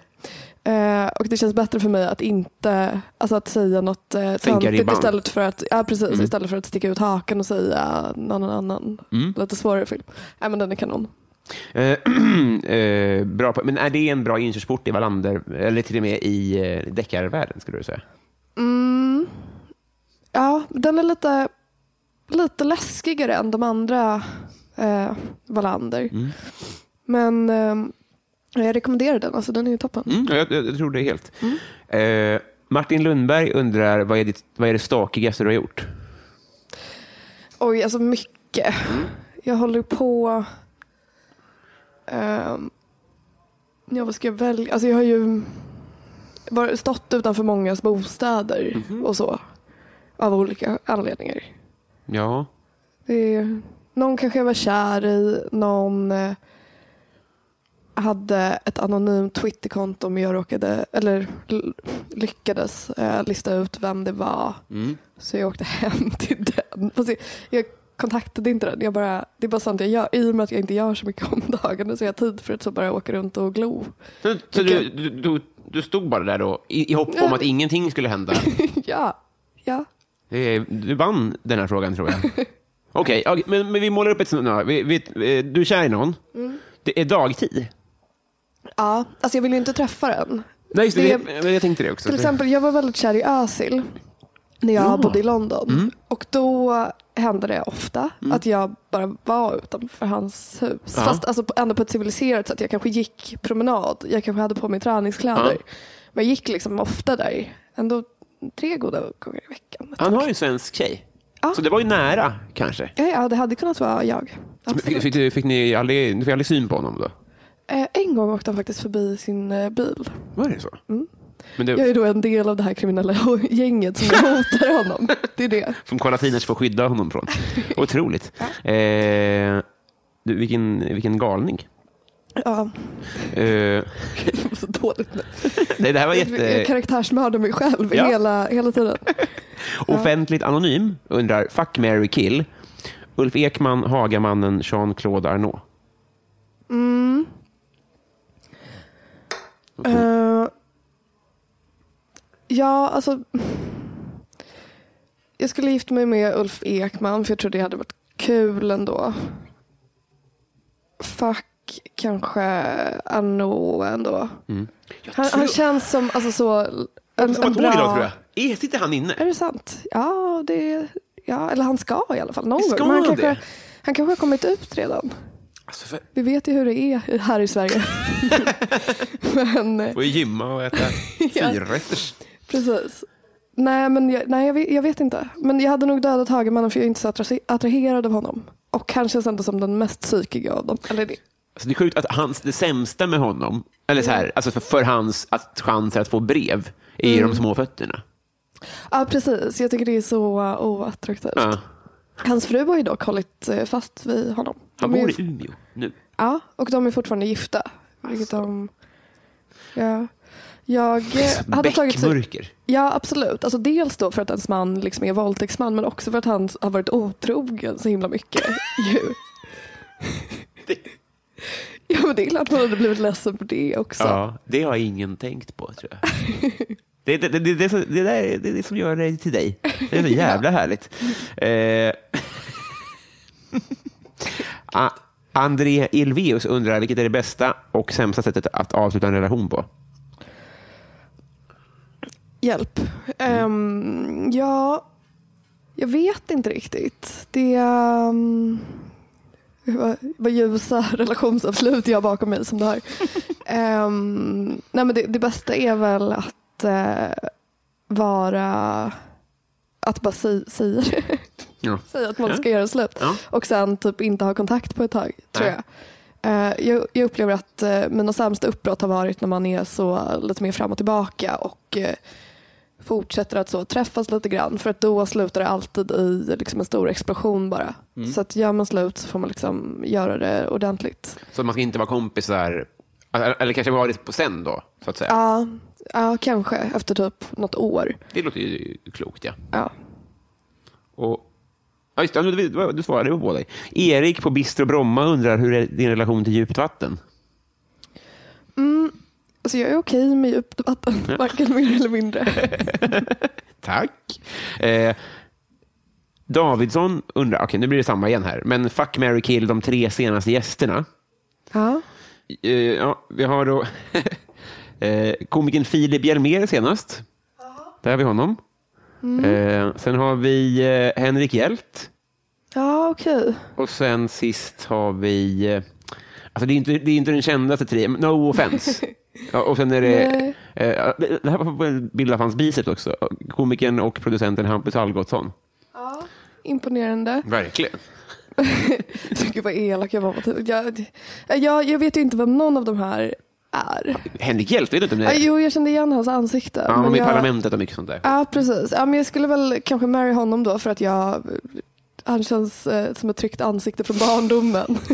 Speaker 2: Eh, och det känns bättre för mig att inte alltså att säga något eh, töntigt
Speaker 1: ribban.
Speaker 2: istället för, att, ja, precis, istället för att sticka ut hakan och säga någon annan
Speaker 1: Mm.
Speaker 2: lite svårare film. Nej, men den är kanon.
Speaker 1: Eh, eh, bra på, men är det en bra inkörsport i Wallander, eller till och med i eh, deckarvärlden, skulle du säga?
Speaker 2: Mm. Ja, den är lite, lite läskigare än de andra eh, Wallander.
Speaker 1: Mm.
Speaker 2: Men eh, jag rekommenderar den. Alltså, den är ju toppen.
Speaker 1: Mm, ja, jag, jag, jag tror det helt. Eh, Martin Lundberg undrar, vad är, ditt, vad är det stakigaste du har gjort?
Speaker 2: Oj, alltså mycket. Jag håller på... ehm, ja, vad ska jag välja? Alltså jag har ju var, stått utanför mångas bostäder och så. Av olika anledningar.
Speaker 1: Ja.
Speaker 2: Det är, någon kanske jag var kär i. Någon eh, hade ett anonymt Twitterkonto men jag råkade, eller l- lyckades eh, lista ut vem det var. Så jag åkte hem till den. Fast jag, jag kontaktade inte den. Jag bara, det är bara sånt jag gör. I och med att jag inte gör så mycket om dagarna så jag har tid för att så bara åka runt och glo.
Speaker 1: Så, så du,
Speaker 2: Vilken-
Speaker 1: du, du, du stod bara där då, i, i hopp om
Speaker 2: Ja.
Speaker 1: att ingenting skulle hända?
Speaker 2: ja, ja.
Speaker 1: Det är- Du vann den här frågan, tror jag. Okej, okej, men, men vi målar upp ett scenario. Vi, vi, eh, du är kär i någon. Det är dagtid.
Speaker 2: Ja, alltså jag vill ju inte träffa den.
Speaker 1: Nej, just det,
Speaker 2: Det-
Speaker 1: det, jag, jag tänkte det också.
Speaker 2: Till exempel, jag var väldigt kär i Özil när jag bodde i London.
Speaker 1: Mm.
Speaker 2: Och då hände det ofta att jag bara var utanför hans hus.
Speaker 1: Ja.
Speaker 2: Fast alltså, på- ändå på ett civiliserat sätt. Jag kanske gick promenad. Jag kanske hade på mig träningskläder. Men jag gick liksom ofta där. Ändå tre goda gånger i veckan.
Speaker 1: Han har ju en svensk tjej.
Speaker 2: Ja.
Speaker 1: Så det var ju nära, kanske.
Speaker 2: Ja, ja, det hade kunnat vara jag.
Speaker 1: Fick,
Speaker 2: Absolut.
Speaker 1: fick, du- fick ni aldrig, du fick aldrig syn på honom då?
Speaker 2: Eh, En gång åkte han faktiskt förbi sin eh, bil.
Speaker 1: Var det så? Men det,
Speaker 2: Mm. Jag är då en del av det här kriminella gänget som hotar honom. Det är det.
Speaker 1: Som Karla Tiners får skydda honom från. Otroligt. Eh, du, vilken, vilken galning.
Speaker 2: Ja,
Speaker 1: Eh,
Speaker 2: det var så dåligt nu.
Speaker 1: nej, det här var
Speaker 2: Jag
Speaker 1: jätte...
Speaker 2: karaktärsmördar mig själv
Speaker 1: Ja.
Speaker 2: hela, hela tiden.
Speaker 1: Offentligt anonym undrar, fuck, Mary kill. Ulf Ekman, Hagamannen, Jean-Claude Arnault.
Speaker 2: Eh, ja, alltså. Jag skulle gifta mig med Ulf Ekman för jag tror det hade varit kul ändå. Fuck kanske Arnault ändå.
Speaker 1: Mm.
Speaker 2: Han, han känns som alltså, så, en,
Speaker 1: Som
Speaker 2: en
Speaker 1: ett år idag, tror
Speaker 2: bra...
Speaker 1: jag. Eh, Sitter han inne?
Speaker 2: Är det sant? Ja, det, ja, eller han ska i alla fall någon
Speaker 1: Ska
Speaker 2: gång. Men han,
Speaker 1: han det?
Speaker 2: kanske, han kanske har kommit ut redan.
Speaker 1: Alltså, för,
Speaker 2: Vi vet ju hur det är här i Sverige. men eh,
Speaker 1: får ju gymma och äta fyrrätters.
Speaker 2: precis. Nej, men jag, nej jag, vet, jag vet inte. Men jag hade nog dödat Hagemannen för jag är inte så attra- attraherad av honom. Och han känns ändå som den mest psykiga av dem. Eller det.
Speaker 1: Alltså, det är sjukt att hans, det sämsta med honom, eller så här, alltså för, för hans att, chanser att få brev, är ju de små fötterna.
Speaker 2: Ja, precis. Jag tycker det är så eh, oattraktivt.
Speaker 1: Ja.
Speaker 2: Hans fru har ju dock hållit eh, fast vid honom.
Speaker 1: Han
Speaker 2: De är
Speaker 1: bor
Speaker 2: ju-
Speaker 1: i Umeå nu.
Speaker 2: Ja, och de är fortfarande gifta. Vilket
Speaker 1: Alltså.
Speaker 2: de... Ja. Jag eh, hade tagit...
Speaker 1: Alltså, Bäckmörker.
Speaker 2: Ja, absolut. Alltså, dels då för att ens man liksom är våldtäktsman men också för att han har varit otrogen så himla mycket. ju. ja, men det är klart man hade blivit ledsen på det också.
Speaker 1: Ja, det har ingen tänkt på, tror jag. Det, det, det, det, är så- det, där, är- det är det som gör dig till dig. Det är så jävla härligt. Eh, A- André Ilveus undrar vilket är det bästa och sämsta sättet att avsluta en relation på?
Speaker 2: Hjälp. Ehm, ja, jag vet inte riktigt. Det är... Um, vad, vad ljusa relationsavslut jag har bakom mig som det här. Ehm, nej men det, det bästa är väl att eh, vara... Att bara säga, säga det.
Speaker 1: Ja.
Speaker 2: Säga att man ska göra slut.
Speaker 1: Ja.
Speaker 2: Och sen typ inte ha kontakt på ett tag, tror
Speaker 1: Nej.
Speaker 2: jag. Eh, jag. Jag upplever att eh, mina sämsta uppbrott har varit när man är så lite mer fram och tillbaka och eh, fortsätter att så träffas lite grann för att då slutar det alltid i liksom en stor explosion bara.
Speaker 1: Mm.
Speaker 2: Så att gör man slut så får man liksom göra det ordentligt.
Speaker 1: Så man ska inte vara kompisar, eller eller kanske vara det på sen då, så att säga.
Speaker 2: Ja, ja kanske efter typ något år.
Speaker 1: Det låter ju klokt, ja.
Speaker 2: Ja.
Speaker 1: Och, ja just det, du, du- du svarade ju på dig. Erik på Bistro Bromma undrar hur är din relation till djupt vatten?
Speaker 2: Alltså jag är okej med djupt vatten, varken mer eller mindre.
Speaker 1: Tack. Eh, Davidsson undrar, okej nu blir det samma igen här, men fuck, Mary kill de tre senaste gästerna.
Speaker 2: Ja.
Speaker 1: Eh, ja, vi har då eh, komikern Filip Hjelmér senast. Där har vi honom. Eh, sen har vi eh, Henrik Hjelt.
Speaker 2: Ja, okej.
Speaker 1: Och sen sist har vi... eh, Alltså det är inte, det är inte den kändaste tre, men no offense. Ja, och sen är det...
Speaker 2: Nej.
Speaker 1: Eh, det det här var en bild av hans biceps också. Komikern och producenten Hampus Algotsson.
Speaker 2: Imponerande.
Speaker 1: Verkligen. Mm.
Speaker 2: Gud vad elak jag var mot henne. jag, jag, jag vet ju inte vem någon av de här är.
Speaker 1: Henrik Hjelt, vet du inte om det
Speaker 2: Ah,
Speaker 1: är?
Speaker 2: jo, jag kände igen hans ansikte.
Speaker 1: Ja, Han var med i
Speaker 2: jag,
Speaker 1: Parlamentet och mycket sånt där.
Speaker 2: Ja, precis. Ja, men jag skulle väl kanske marry honom då för att jag, han känns eh, som ett tryggt ansikte från barndomen.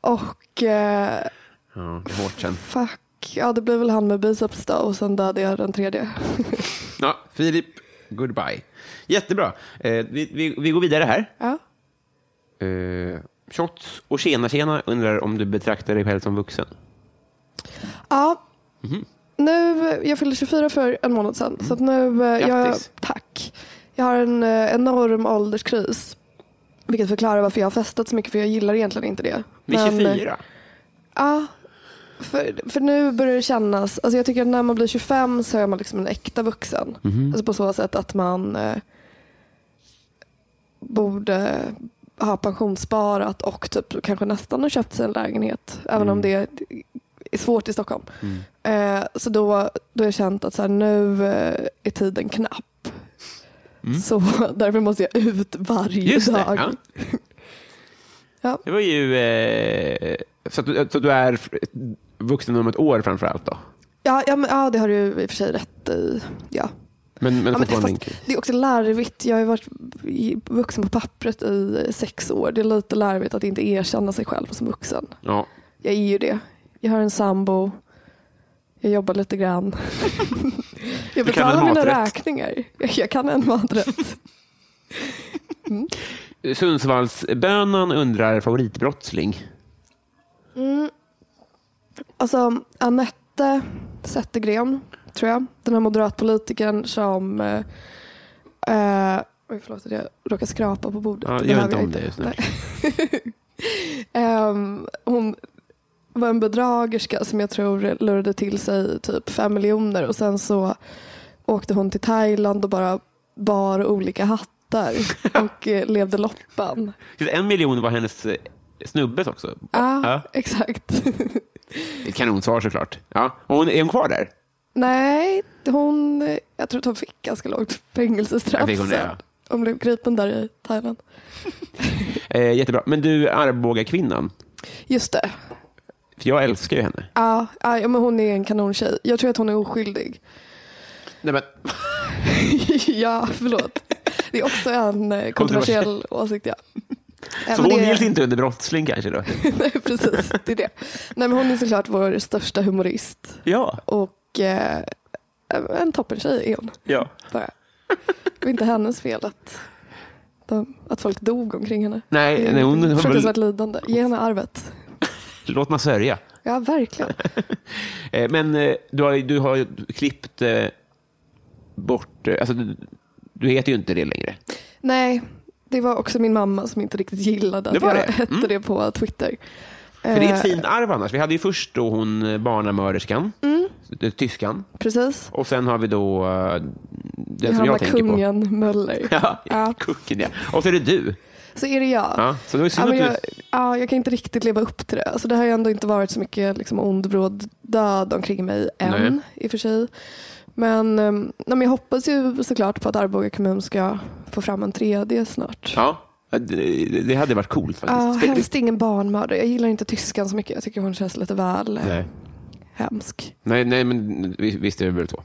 Speaker 2: och eh,
Speaker 1: Ja, det är hårt sen.
Speaker 2: fuck, ja det blir väl han med biceps då och sen dödade jag den tredje.
Speaker 1: Ja, Filip, goodbye. Jättebra. Eh, vi, vi, vi går vidare här.
Speaker 2: ja.
Speaker 1: Eh, shots och tjena tjena undrar om du betraktar dig själv som vuxen.
Speaker 2: Ja. Nu, jag fyllde 24 för en månad sedan. Så att nu, eh, jag,
Speaker 1: Grattis.
Speaker 2: tack. Jag har en eh, enorm ålderskris. Vilket förklarar varför jag har festat så mycket för jag gillar egentligen inte det.
Speaker 1: Vid
Speaker 2: Men, eh,
Speaker 1: 24?
Speaker 2: Ja. För, för nu börjar det kännas, alltså jag tycker att när man blir 25 så är man liksom en äkta vuxen.
Speaker 1: Mhm.
Speaker 2: Alltså på så sätt att man eh, borde ha pensionssparat och typ kanske nästan har köpt sig en lägenhet. Även
Speaker 1: Mm.
Speaker 2: om det är svårt i Stockholm. Eh, så då, då har jag känt att så här, nu eh, är tiden knapp. Så därför måste jag ut varje
Speaker 1: Mm. Just det.
Speaker 2: dag.
Speaker 1: Ja.
Speaker 2: Ja.
Speaker 1: Det var ju... Eh, så, att, du- så att du är f- vuxen om ett år framför allt då?
Speaker 2: Ja, ja, men, ja, det har du i och för sig rätt i. Ja.
Speaker 1: Men, men
Speaker 2: Ja, men det,
Speaker 1: fortfarande
Speaker 2: fast,
Speaker 1: inte.
Speaker 2: det är också larvigt. Jag har ju varit i- vuxen på pappret i sex år. Det är lite larvigt att inte erkänna sig själv som vuxen.
Speaker 1: Ja.
Speaker 2: Jag är ju det. Jag har en sambo. Jag jobbar lite grann. jag
Speaker 1: Du kan en
Speaker 2: betalar mina
Speaker 1: maträtt.
Speaker 2: räkningar. Jag kan en maträtt.
Speaker 1: Sundsvallsbönan undrar favoritbrottsling. Mm.
Speaker 2: Alltså, Anette Zettergren, tror jag. Den här moderatpolitikern som... Eh, eh, oj, förlåt att jag råkade skrapa på bordet.
Speaker 1: Ja, gör
Speaker 2: behöver
Speaker 1: inte
Speaker 2: jag
Speaker 1: om det just nu.
Speaker 2: Ehm, hon var en bedragerska som jag tror lurade till sig typ fem miljoner och sen så åkte hon till Thailand och bara bar olika hattar och eh, levde loppan.
Speaker 1: En miljon var hennes eh, snubbes också.
Speaker 2: Ja,
Speaker 1: Ja.
Speaker 2: exakt.
Speaker 1: Ett kanonsvar såklart. Ja. Och hon, är hon kvar där?
Speaker 2: Nej, hon, jag tror att hon fick ganska lågt
Speaker 1: Ja,
Speaker 2: fängelsestraff
Speaker 1: fick hon det, ja.
Speaker 2: Hon blev gripen där i Thailand.
Speaker 1: Eh, jättebra. Men du, Arboga kvinnan.
Speaker 2: Just det.
Speaker 1: För jag älskar ju henne.
Speaker 2: Ja, ja, ja, men hon är en kanontjej. Jag tror att hon är oskyldig.
Speaker 1: Nej, men,
Speaker 2: ja, förlåt. Det är också en eh, kontroversiell åsikt. Ja. Äh,
Speaker 1: så
Speaker 2: men
Speaker 1: hon
Speaker 2: det-
Speaker 1: gills inte under brottsling kanske då?
Speaker 2: Nej, precis. Det är det. Nej, men hon är såklart vår största humorist
Speaker 1: Ja.
Speaker 2: och eh, en toppentjej är hon.
Speaker 1: ja.
Speaker 2: Bara. Det var inte hennes fel att, de, att folk dog omkring henne.
Speaker 1: Nej, nej, hon- hon-
Speaker 2: Fruktansvärt lidande. Ge henne arvet.
Speaker 1: Låt mig sörja.
Speaker 2: Ja, verkligen.
Speaker 1: Eh, Men eh, du har, du har ju klippt eh, bort... eh, Alltså, du, du heter ju inte det längre.
Speaker 2: Nej, det var också min mamma som inte riktigt gillade
Speaker 1: Det
Speaker 2: att
Speaker 1: var
Speaker 2: jag
Speaker 1: det?
Speaker 2: hette
Speaker 1: Mm.
Speaker 2: det på Twitter. Eh,
Speaker 1: För det är ett fint arv annars. Vi hade ju först då hon eh, barnamörderskan,
Speaker 2: Mm.
Speaker 1: eh, tyskan.
Speaker 2: Precis.
Speaker 1: Och sen har vi då eh, den som
Speaker 2: Johanna
Speaker 1: jag tänker på.
Speaker 2: Kungen Möller.
Speaker 1: Ja,
Speaker 2: Ja.
Speaker 1: Kungen, ja. Och så är det du.
Speaker 2: Så är det jag.
Speaker 1: Ja, så det var ju
Speaker 2: Ja,
Speaker 1: synd
Speaker 2: men jag,
Speaker 1: att du...
Speaker 2: ja, jag kan inte riktigt leva upp till det. Alltså, det har ju ändå inte varit så mycket liksom, ond, bråd, död omkring mig än
Speaker 1: Nej.
Speaker 2: i och för sig. Men, eh, nej, men jag hoppas ju såklart på att Arboga kommun ska få fram en tredje snart.
Speaker 1: Ja, det, det hade varit coolt
Speaker 2: Ja,
Speaker 1: faktiskt.
Speaker 2: helst ingen barnmördare. Jag gillar inte tyskan så mycket. Jag tycker hon känns lite väl eh,
Speaker 1: Nej.
Speaker 2: hemsk.
Speaker 1: Nej, nej, men vi- visst är det väl så.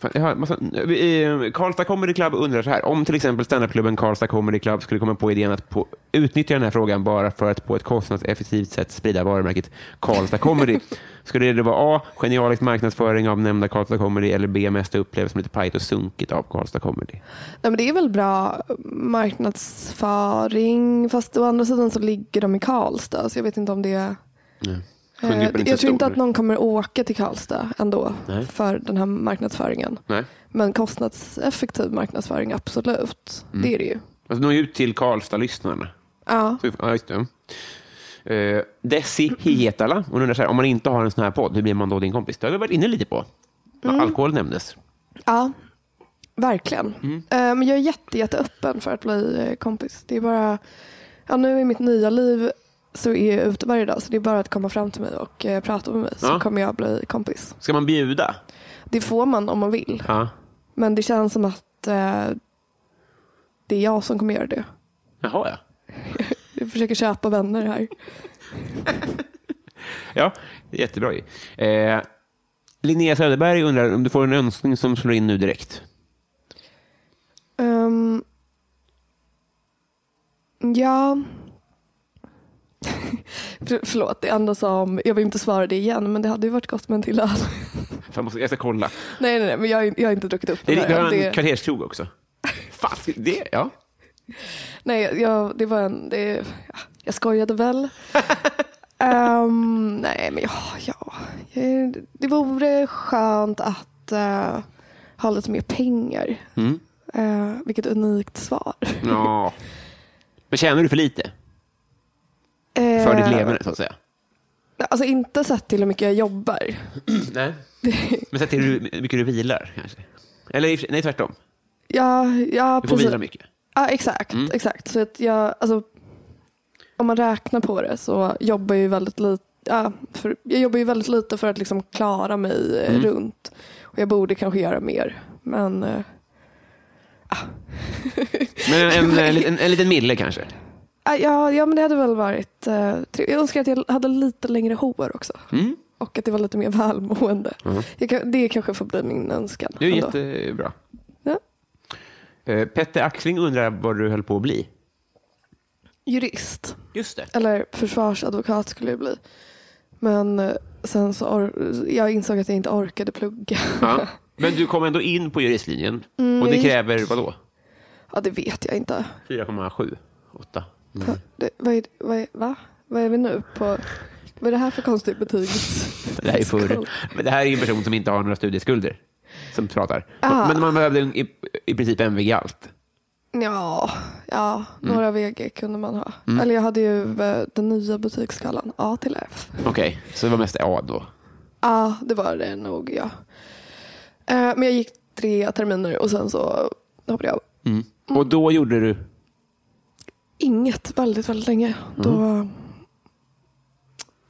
Speaker 1: Fan, jag har en massa- vi- eh, Karlstad Comedy Club undrar så här. Om till exempel standupklubben Karlstad Comedy Club skulle komma på idén att på, utnyttja den här frågan bara för att på ett kostnadseffektivt sätt sprida varumärket Karlstad Comedy. skulle det då vara A. Genialisk marknadsföring av nämnda Karlstad Comedy eller B. Mesta upplevelse som lite pajigt och sunkigt av Karlstad Comedy?
Speaker 2: Nej, men det är väl bra marknadsföring. Fast å andra sidan så ligger de i Karlstad. Så jag vet inte om det är... Eh,
Speaker 1: Kundgruppen är
Speaker 2: jag
Speaker 1: inte så
Speaker 2: tror inte
Speaker 1: stor.
Speaker 2: att någon kommer åka till Karlstad ändå
Speaker 1: Nej.
Speaker 2: för den här marknadsföringen.
Speaker 1: Nej.
Speaker 2: Men kostnadseffektiv marknadsföring, absolut. Det är det ju.
Speaker 1: Alltså, nå ut till Karlstad-lyssnarna.
Speaker 2: Ja.
Speaker 1: Så vi får- Ja, just det. Eh, Desi Hietala, hon undrar så här, om man inte har en sån här podd, hur blir man då din kompis? Det har vi varit inne lite på. Alkohol nämndes.
Speaker 2: ja, verkligen.
Speaker 1: Mm.
Speaker 2: Eh, Men jag är jätte, jätteöppen för att bli eh, kompis. Det är bara, ja, nu i mitt nya liv så är jag ute varje dag så det är bara att komma fram till mig och eh, prata med mig så
Speaker 1: Ja.
Speaker 2: kommer jag bli kompis.
Speaker 1: Ska man bjuda?
Speaker 2: Det får man om man vill.
Speaker 1: Ja.
Speaker 2: Men det känns som att eh, det är jag som kommer göra det.
Speaker 1: Jaha, ja.
Speaker 2: Jag försöker köpa vänner här.
Speaker 1: Ja, jättebra ju. Eh, Linnea Söderberg undrar om du får en önskning som slår in nu direkt.
Speaker 2: Ehm, ja. För, förlåt, det andra sa om, jag vill inte svara det igen, men det hade ju varit gott med en till öl.
Speaker 1: Fan, jag måste- jag ska kolla.
Speaker 2: nej, nej, nej, men jag, har ju- jag har inte druckit upp
Speaker 1: Det,
Speaker 2: den
Speaker 1: är- vi
Speaker 2: här.
Speaker 1: har en
Speaker 2: det,
Speaker 1: kvarterskrog också. Fast, det, ja.
Speaker 2: nej, jag, det var en, det, ja, jag skojade väl. Ehm, nej, men ja, ja. Jag- Det vore skönt att eh, ha lite mer pengar.
Speaker 1: Mm.
Speaker 2: Eh, vilket unikt svar.
Speaker 1: ja. Men tjänar du för lite för
Speaker 2: Eh.
Speaker 1: ditt leverne, så att säga?
Speaker 2: Alltså inte sett till hur mycket jag jobbar.
Speaker 1: Nej. Men sett till hur mycket du vilar, kanske? Eller i och för sig- nej, tvärtom.
Speaker 2: Ja, ja
Speaker 1: Du får
Speaker 2: precis.
Speaker 1: vila Mm. mycket.
Speaker 2: Ja, exakt. exakt. Så att jag, alltså, om man räknar på det så jobbar jag ju väldigt lite. Ja, för, jag jobbar ju väldigt lite för att liksom klara mig eh,
Speaker 1: Mm.
Speaker 2: runt. Och jag borde kanske göra mer. Men eh,
Speaker 1: Men en, en, en, en liten mille kanske?
Speaker 2: ah, ja, ja, men det hade väl varit eh, trevligt. Jag önskar att jag hade lite längre hår också.
Speaker 1: Mm.
Speaker 2: Och att det var lite mer välmående. Jag kan, det kanske får bli min önskan.
Speaker 1: Det är ju
Speaker 2: ändå.
Speaker 1: jättebra.
Speaker 2: Ja.
Speaker 1: Eh, Petter Axling undrar vad du höll på att bli.
Speaker 2: Jurist.
Speaker 1: Just det.
Speaker 2: Eller försvarsadvokat skulle jag bli. Men eh, sen så or- jag insåg att jag inte orkade plugga.
Speaker 1: Ja. Men du kom ändå in på juristlinjen. och det
Speaker 2: jag gick-
Speaker 1: kräver vad då?
Speaker 2: Ja, det vet jag inte.
Speaker 1: 4,7? 8?
Speaker 2: Ta- Det, vad, är, vad, är, va? vad är vi nu på? Vad är det här för konstigt betyg?
Speaker 1: Det här är förr. Men det här är ju en person som inte har några studieskulder. Som pratar.
Speaker 2: Ah.
Speaker 1: Men man behövde en- i, i princip MVG i allt.
Speaker 2: Ja, ja
Speaker 1: Mm.
Speaker 2: några VG kunde man ha. Eller jag hade ju eh, den nya betygsskalan A till F.
Speaker 1: Okej, så det var mest A då.
Speaker 2: Ja, det var det nog ja. Eh, Men jag gick tre terminer och sen så hoppade jag av. Mm.
Speaker 1: Och då gjorde du...
Speaker 2: Inget väldigt, väldigt länge. Då...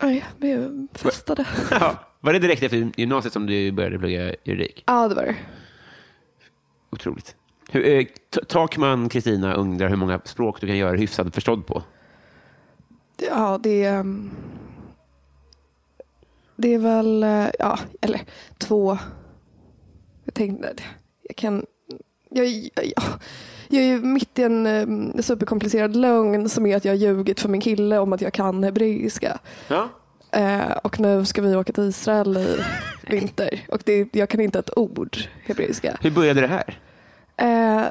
Speaker 2: Nej, vi festade.
Speaker 1: Ja. Var det direkt efter gymnasiet som du började plugga juridik?
Speaker 2: Ja, det var det.
Speaker 1: Otroligt. Hur, eh, T- Takman Kristina undrar hur många språk du kan göra hyfsad förstådd på.
Speaker 2: Ja, det... ehm, Det är väl, eh, ja, eller två. Jag tänkte, jag kan... Jag, jag, jag är ju mitt i en ehm, superkomplicerad lögn som är att jag har ljugit för min kille om att jag kan hebreiska.
Speaker 1: Ja.
Speaker 2: Eh, och nu ska vi åka till Israel i vinter. Och det, jag kan inte ett ord hebreiska.
Speaker 1: Hur började det här?
Speaker 2: Eh,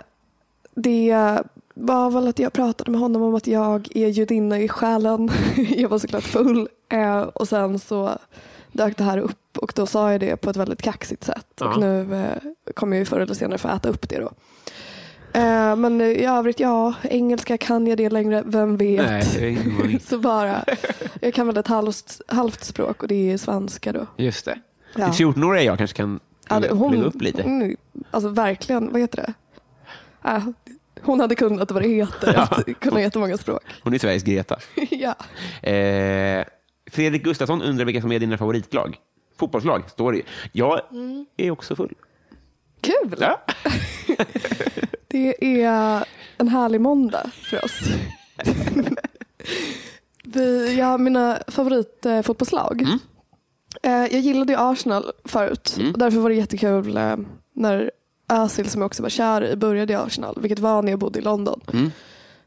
Speaker 2: det var väl att jag pratade med honom om att jag är judinna i själen. jag var såklart full. Eh, och sen så dök det här upp och då sa jag det på ett väldigt kaxigt sätt.
Speaker 1: Ja.
Speaker 2: Och nu eh, kommer jag ju förr eller senare få äta upp det då. Eh, men i övrigt, ja, engelska kan jag det längre, vem vet.
Speaker 1: Nej, det är ingen aning.
Speaker 2: Så bara, jag kan väl ett halvt, halvt språk och det är svenska då.
Speaker 1: Just det.
Speaker 2: Ja.
Speaker 1: Det 14-åriga jag kanske kan
Speaker 2: Ja, det- hon-
Speaker 1: lägga upp lite.
Speaker 2: Mm, alltså verkligen, vad heter det? Äh, hon hade kunnat vad det heter, att kunna jättemånga språk.
Speaker 1: Hon är Sveriges Greta.
Speaker 2: ja.
Speaker 1: Eh, Fredrik Gustafsson undrar vilka som är dina favoritlag. Fotbollslag, står det ju. Jag är också full.
Speaker 2: Kul!
Speaker 1: Ja.
Speaker 2: Det är en härlig måndag för oss. Vi, jag har mina favoritfotbollslag.
Speaker 1: Mm.
Speaker 2: Eh, jag gillade ju Arsenal förut.
Speaker 1: Mm.
Speaker 2: Och därför var det jättekul eh, när Özil, som jag också var kär i, började i Arsenal. Vilket var när jag bodde i London.
Speaker 1: Mm.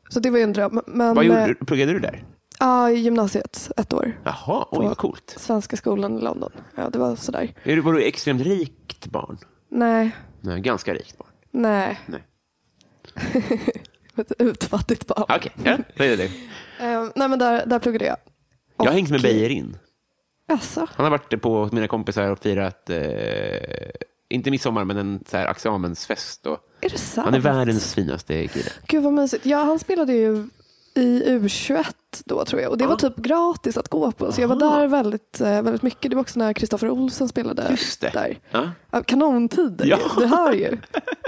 Speaker 2: Så det var ju en dröm. Men,
Speaker 1: Vad
Speaker 2: eh,
Speaker 1: gjorde du? Pluggade du där?
Speaker 2: Ja, i gymnasiet ett år.
Speaker 1: Jaha, oj vad coolt.
Speaker 2: Svenska skolan i London. Ja, det var sådär.
Speaker 1: Är du, var du extremt rikt barn?
Speaker 2: Nej,
Speaker 1: Nej, ganska rikt barn.
Speaker 2: nej.
Speaker 1: Nej.
Speaker 2: Ett utfattigt barn.
Speaker 1: Okej, ja, det är det.
Speaker 2: Eh, nej, men där, där pluggade jag.
Speaker 1: Jag har hängt med
Speaker 2: Och-
Speaker 1: Beijerin.
Speaker 2: Alltså,
Speaker 1: Han har varit på hos mina kompisar och firat, eh, inte midsommar, men en så här, examensfest. Och,
Speaker 2: är det sant?
Speaker 1: han är världens finaste kille.
Speaker 2: Gud vad mysigt. Ja, han spelade ju i U21 då tror jag. Och det var typ gratis att gå på. Så jag var
Speaker 1: Ah. Aha.
Speaker 2: där väldigt, eh, väldigt mycket. Det var också när Kristoffer Olsson spelade
Speaker 1: Just det.
Speaker 2: där.
Speaker 1: Ja,
Speaker 2: Ja, Kanontider
Speaker 1: Ja.
Speaker 2: ju. Du hör ju.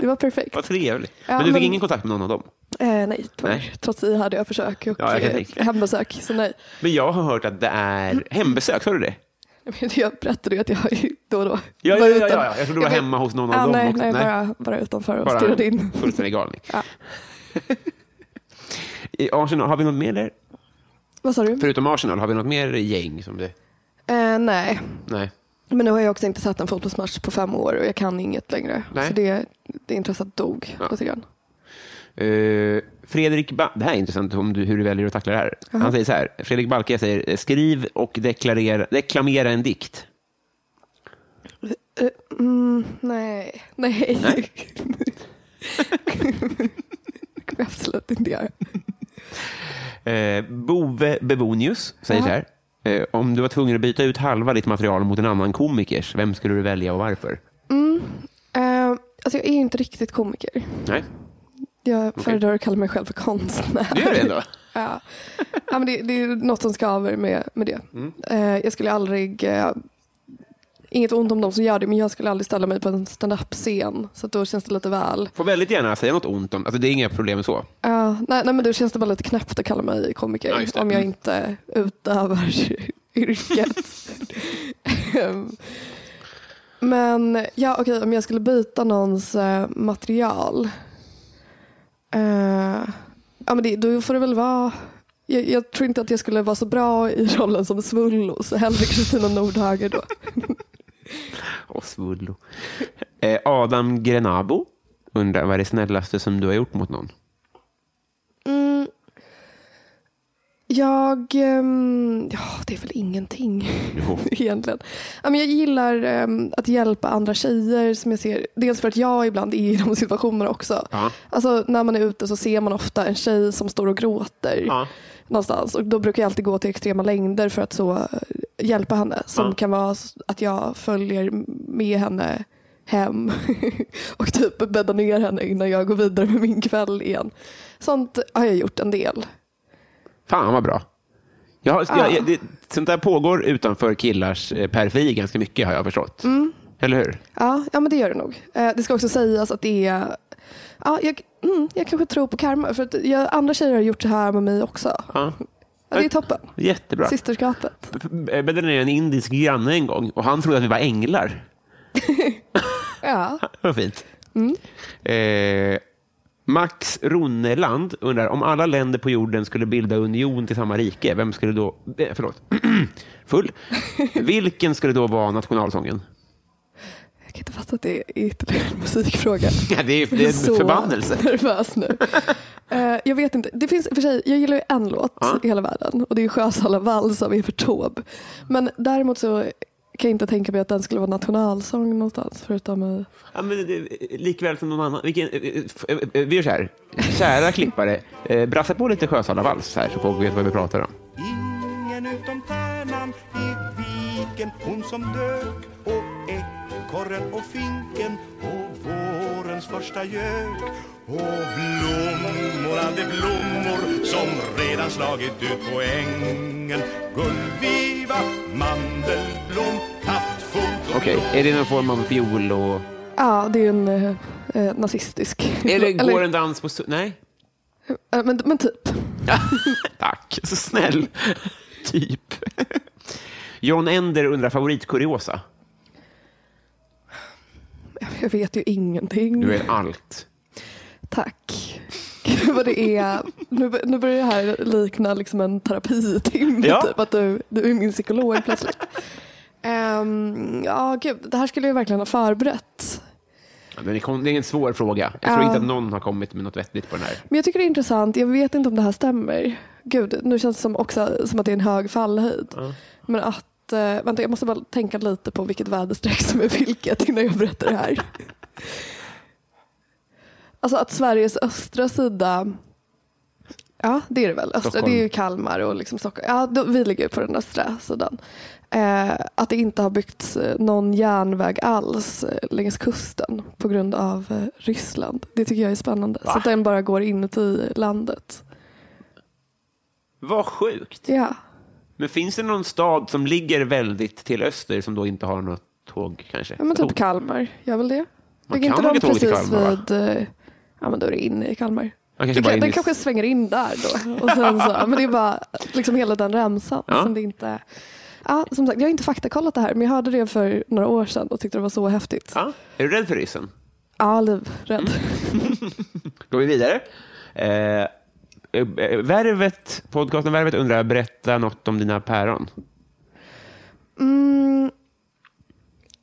Speaker 2: Det var perfekt.
Speaker 1: vad trevligt.
Speaker 2: Ja,
Speaker 1: men du fick
Speaker 2: men-
Speaker 1: ingen kontakt med någon av dem?
Speaker 2: Eh, nej, tyvärr.
Speaker 1: Nej.
Speaker 2: Trots det hade jag försök och
Speaker 1: Ja, jag kan
Speaker 2: eh,
Speaker 1: tänka.
Speaker 2: hembesök. Så nej.
Speaker 1: Men jag har hört att det
Speaker 2: Mm.
Speaker 1: är hembesök, sa du det?
Speaker 2: Men Jag berättade ju att jag ju då och då
Speaker 1: Ja, ja,
Speaker 2: var
Speaker 1: ja, ja,
Speaker 2: utan-
Speaker 1: ja. jag trodde du var
Speaker 2: vet-
Speaker 1: hemma hos någon av
Speaker 2: Ja,
Speaker 1: dem.
Speaker 2: nej,
Speaker 1: också.
Speaker 2: nej, Bara, bara utanför och
Speaker 1: Bara
Speaker 2: stirrade
Speaker 1: en
Speaker 2: in.
Speaker 1: fullständig galning.
Speaker 2: Ja.
Speaker 1: I Arsenal, har vi något mer där?
Speaker 2: Vad sa du?
Speaker 1: Förutom Arsenal, har vi något mer gäng? Som det?
Speaker 2: Eh, nej,
Speaker 1: Nej.
Speaker 2: men nu har jag också inte sett en fotbollsmatch på fem år och jag kan inget längre.
Speaker 1: Nej.
Speaker 2: Så det, det intresset dog
Speaker 1: Ja.
Speaker 2: lite grann.
Speaker 1: Eh, Fredrik ba- det här är intressant om du, hur du väljer att tackla det här. Han säger så här, Fredrik Balke säger eh, skriv och deklarera, deklamera en dikt.
Speaker 2: Eh, mm, nej, nej.
Speaker 1: Nej.
Speaker 2: det kommer jag absolut inte göra.
Speaker 1: Eh, Bove Bebonius säger
Speaker 2: Ja.
Speaker 1: så här, eh, om du var tvungen att byta ut halva ditt material mot en annan komikers, vem skulle du välja och varför?
Speaker 2: Mm, eh, alltså jag är ju inte riktigt komiker.
Speaker 1: Nej,
Speaker 2: Jag föredrar att kalla mig själv för konstnär.
Speaker 1: du gör det ändå.
Speaker 2: Ja. Ja, men det, det är något som skaver med, med det.
Speaker 1: Mm.
Speaker 2: Eh, jag skulle aldrig, eh, inget ont om de som gör det, men jag skulle aldrig ställa mig på en stand-up-scen. Så att då känns det lite väl.
Speaker 1: Får väldigt gärna säga något ont om, alltså det är inga problem så.
Speaker 2: Ja, nej, nej, men då känns det bara lite knäppt att kalla mig komiker
Speaker 1: Ja, just det.
Speaker 2: om jag
Speaker 1: Mm.
Speaker 2: inte utövar yrket. Ehm, men ja, okej, om jag skulle byta någons eh, material. Eh, ja, men det, då får det väl vara jag, jag tror inte att jag skulle vara så bra i rollen som Svullo, så hellre Kristina Nordhager då.
Speaker 1: Och svullo. Eh, Adam Grenabo undrar, vad är det snällaste som du har gjort mot någon?
Speaker 2: Mm. Jag, ehm, ja det är väl ingenting
Speaker 1: Jo.
Speaker 2: egentligen. Ja, men jag gillar ehm, att hjälpa andra tjejer som jag ser, dels för att jag ibland är i de situationerna också.
Speaker 1: Ja.
Speaker 2: Alltså när man är ute så ser man ofta en tjej som står och gråter någonstans och då brukar jag alltid gå till extrema längder för att så eh, hjälpa henne som
Speaker 1: Ja.
Speaker 2: kan vara s- att jag följer med henne hem och typ bäddar ner henne innan jag går vidare med min kväll igen. Sånt har jag gjort en del.
Speaker 1: Fan vad bra. Jag, har-
Speaker 2: Ja.
Speaker 1: jag, jag, det, sånt där pågår utanför killars eh, periferi ganska mycket har jag förstått. Eller hur?
Speaker 2: Ja, ja men det gör det nog. Eh, Det ska också sägas att det är Ja, jag, mm, jag kanske tror på karma för att jag, andra tjejer har gjort så här med mig också.
Speaker 1: Ja.
Speaker 2: Ja, det är toppen.
Speaker 1: Jättebra.
Speaker 2: Systerskapet.
Speaker 1: Jag bäddade ner en indisk granne en gång och han trodde att vi var änglar.
Speaker 2: Ja.
Speaker 1: Vad fint. Eh, Max Ronneland undrar om alla länder på jorden skulle bilda union till samma rike, vem skulle då... Eh, förlåt. Full. Vilken skulle då vara nationalsången?
Speaker 2: Jag kan inte fatta att det är ytterligare en musikfråga.
Speaker 1: Ja, det är,
Speaker 2: Jag
Speaker 1: det är en
Speaker 2: så
Speaker 1: förbannelse.
Speaker 2: nervös nu. Eh, jag vet inte. Det finns, för sig, jag gillar ju en låt
Speaker 1: Ja.
Speaker 2: i hela världen och det är Sjösala vals av Evert Taube. Men däremot så kan inte tänka mig att den skulle vara nationalsång någonstans förutom eh, i...
Speaker 1: Ja, men, det- likväl som någon annan. Vilken, eh, eh, f- eh, eh, vi gör så här. Kära klippare, eh, brassa på lite Sjösalavals här så folk vet vad vi pratar om.
Speaker 3: Ingen utom tärnan i viken Hon som dök och ekorren och finken Och vårens första gök Och blommor, allt är blommor Som redan slagit ut på ängen Gullviva, mandelblom, kattfot och
Speaker 1: Okej, är det någon form av fiol och...
Speaker 2: Ja, det är ju en eh, eh, nazistisk...
Speaker 1: Eller går
Speaker 2: Eller-
Speaker 1: en dans på... stu- Nej?
Speaker 2: eh, men, men typ.
Speaker 1: Tack, så snäll. typ. John Ender undrar favoritkuriosa.
Speaker 2: Jag vet ju ingenting.
Speaker 1: Du vet allt.
Speaker 2: Tack. Gud vad det är. Nu, bör- nu börjar det här likna liksom en terapitimme.
Speaker 1: Ja.
Speaker 2: Typ att du, du är min psykolog plötsligt. Ehm, ja, gud. Det här skulle jag verkligen ha förberett.
Speaker 1: Ja, men det kom- det är en svår fråga. Jag tror
Speaker 2: Ja.
Speaker 1: inte att någon har kommit med något vettigt på den här.
Speaker 2: Men jag tycker det är intressant. Jag vet inte om det här stämmer. Gud, nu känns det som också som att det är en hög fallhöjd. Men att, eh, vänta, jag måste bara tänka lite på vilket väderstreck som är vilket innan jag berättar det här. Alltså att Sveriges östra sida, ja det är det väl, östra,
Speaker 1: Stockholm.
Speaker 2: det är ju Kalmar och liksom Stockholm. Ja, då, vi ligger på den östra sidan. Eh, att det inte har byggts eh, någon järnväg alls eh, längs kusten på grund av eh, Ryssland. Det tycker jag är spännande. Så att den bara går inuti landet.
Speaker 1: Vad sjukt.
Speaker 2: Ja.
Speaker 1: Men finns det någon stad som ligger väldigt till öster som då inte har något tåg kanske?
Speaker 2: Ja, men typ
Speaker 1: Tåg.
Speaker 2: Kalmar gör väl det?
Speaker 1: Man
Speaker 2: Ligger
Speaker 1: kan
Speaker 2: inte
Speaker 1: åka
Speaker 2: de
Speaker 1: tåg till
Speaker 2: precis
Speaker 1: Kalmar, va?
Speaker 2: vid... eh, Ja men då är det inne i Kalmar.
Speaker 1: Man
Speaker 2: Det
Speaker 1: kanske bara
Speaker 2: kan,
Speaker 1: in i-
Speaker 2: den kanske svänger in där då. Och sen så, ja, men det är bara liksom hela den ramsan.
Speaker 1: Ja.
Speaker 2: Som det inte, ja, som sagt, jag har inte faktakollat det här men jag hörde det för några år sedan och tyckte det var så häftigt. Ja,
Speaker 1: Ja, är du rädd för ryssen?
Speaker 2: livrädd.
Speaker 1: Går vi vidare? Eh, eh, Värvet, podcasten Värvet undrar, berätta något om dina päron.
Speaker 2: Mm,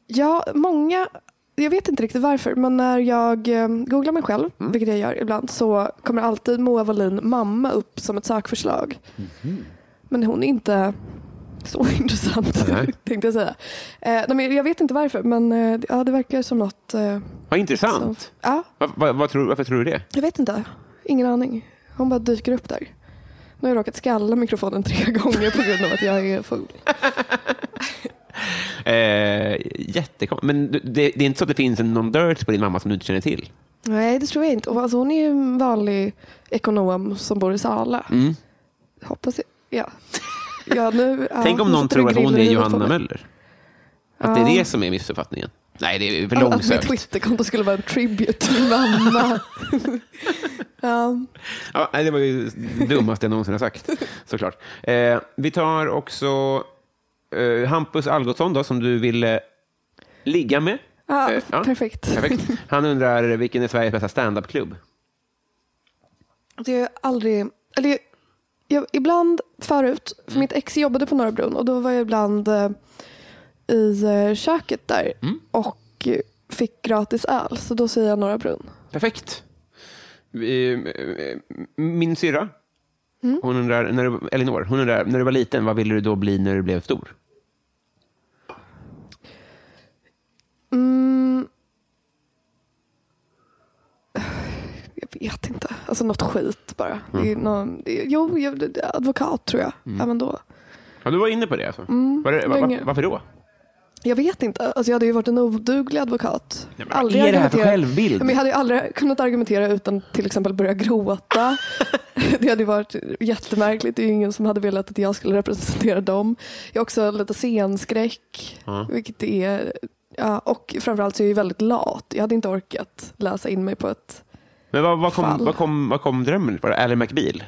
Speaker 2: ja, många, jag vet inte riktigt varför, men när jag eh, googlar mig själv, vilket jag gör ibland, så kommer alltid Moa Wallin mamma upp som ett sökförslag. Men hon är inte så intressant,
Speaker 1: Nej.
Speaker 2: tänkte jag säga. Eh, nej, men jag vet inte varför, men eh, ja, det verkar som något... Eh,
Speaker 1: Vad
Speaker 2: som,
Speaker 1: intressant.
Speaker 2: ja,
Speaker 1: Va, va, vad tror, varför tror du det?
Speaker 2: jag vet inte. Ingen aning. Hon bara dyker upp där. Nu har jag råkat skalla mikrofonen tre gånger på grund av att jag är full.
Speaker 1: Eh, jättekonstigt. Men du- det, det är inte så att det finns en- någon dirt på din mamma som du inte känner till?
Speaker 2: Nej, det tror jag inte. Och Alltså, hon är ju en vanlig ekonom som bor i Sala.
Speaker 1: Mm.
Speaker 2: Hoppas jag. Ja. Ja, nu, ja,
Speaker 1: Tänk om
Speaker 2: nu
Speaker 1: någon
Speaker 2: sätter du
Speaker 1: tror att hon
Speaker 2: griller i
Speaker 1: är
Speaker 2: huvudet på
Speaker 1: Johanna
Speaker 2: mig.
Speaker 1: Möller? Att det
Speaker 2: Ja.
Speaker 1: är det som är missuppfattningen? Nej, det är för
Speaker 2: Att- Att mitt
Speaker 1: långsökt.
Speaker 2: Twitterkonto skulle vara en tribute till mamma. ja.
Speaker 1: Ja, nej, det var ju det dummaste jag någonsin har sagt, såklart. Eh, vi tar också eh, Hampus Algotsson då, som du ville ligga med.
Speaker 2: Ja,
Speaker 1: Eh, ja.
Speaker 2: Perfekt.
Speaker 1: Perfekt. Han undrar vilken är Sveriges bästa standup-klubb?
Speaker 2: Det är aldrig... Eller, jag- jag, ibland förut,
Speaker 1: Mm.
Speaker 2: för mitt ex jobbade på Norra Brunn och då var jag ibland eh, i eh, köket där
Speaker 1: Mm.
Speaker 2: och eh, fick gratis öl. Så då säger jag Norra Brunn.
Speaker 1: Perfekt. Eh, eh, Min syrra,
Speaker 2: Mm.
Speaker 1: hon undrar, när du, Elinor, hon undrar, när du var liten, vad ville du då bli när du blev stor?
Speaker 2: Mm. Jag vet inte. Alltså något skit bara. Det är någon, det är, jo, jag, det- det- advokat tror jag. Även då.
Speaker 1: Ja, du var inne på det alltså? Var det, va- va,
Speaker 2: Mm, länge.
Speaker 1: varför då?
Speaker 2: Jag vet inte. Alltså jag hade ju varit en oduglig advokat.
Speaker 1: Nej, men vad är det här för
Speaker 2: argumentera-
Speaker 1: självbild?
Speaker 2: Ja, Men jag hade ju aldrig kunnat argumentera utan till exempel börja gråta. det hade ju varit jättemärkligt. Det är ju ingen som hade velat att jag skulle representera dem. Jag har också lite scenskräck. Vilket är... Ja, och framförallt så är jag ju väldigt lat. Jag hade inte orkat läsa in mig på ett...
Speaker 1: Men vad, vad, kom,
Speaker 2: Fall.
Speaker 1: vad, kom, vad kom drömmen? Var det Ally McBeal?
Speaker 2: Eh.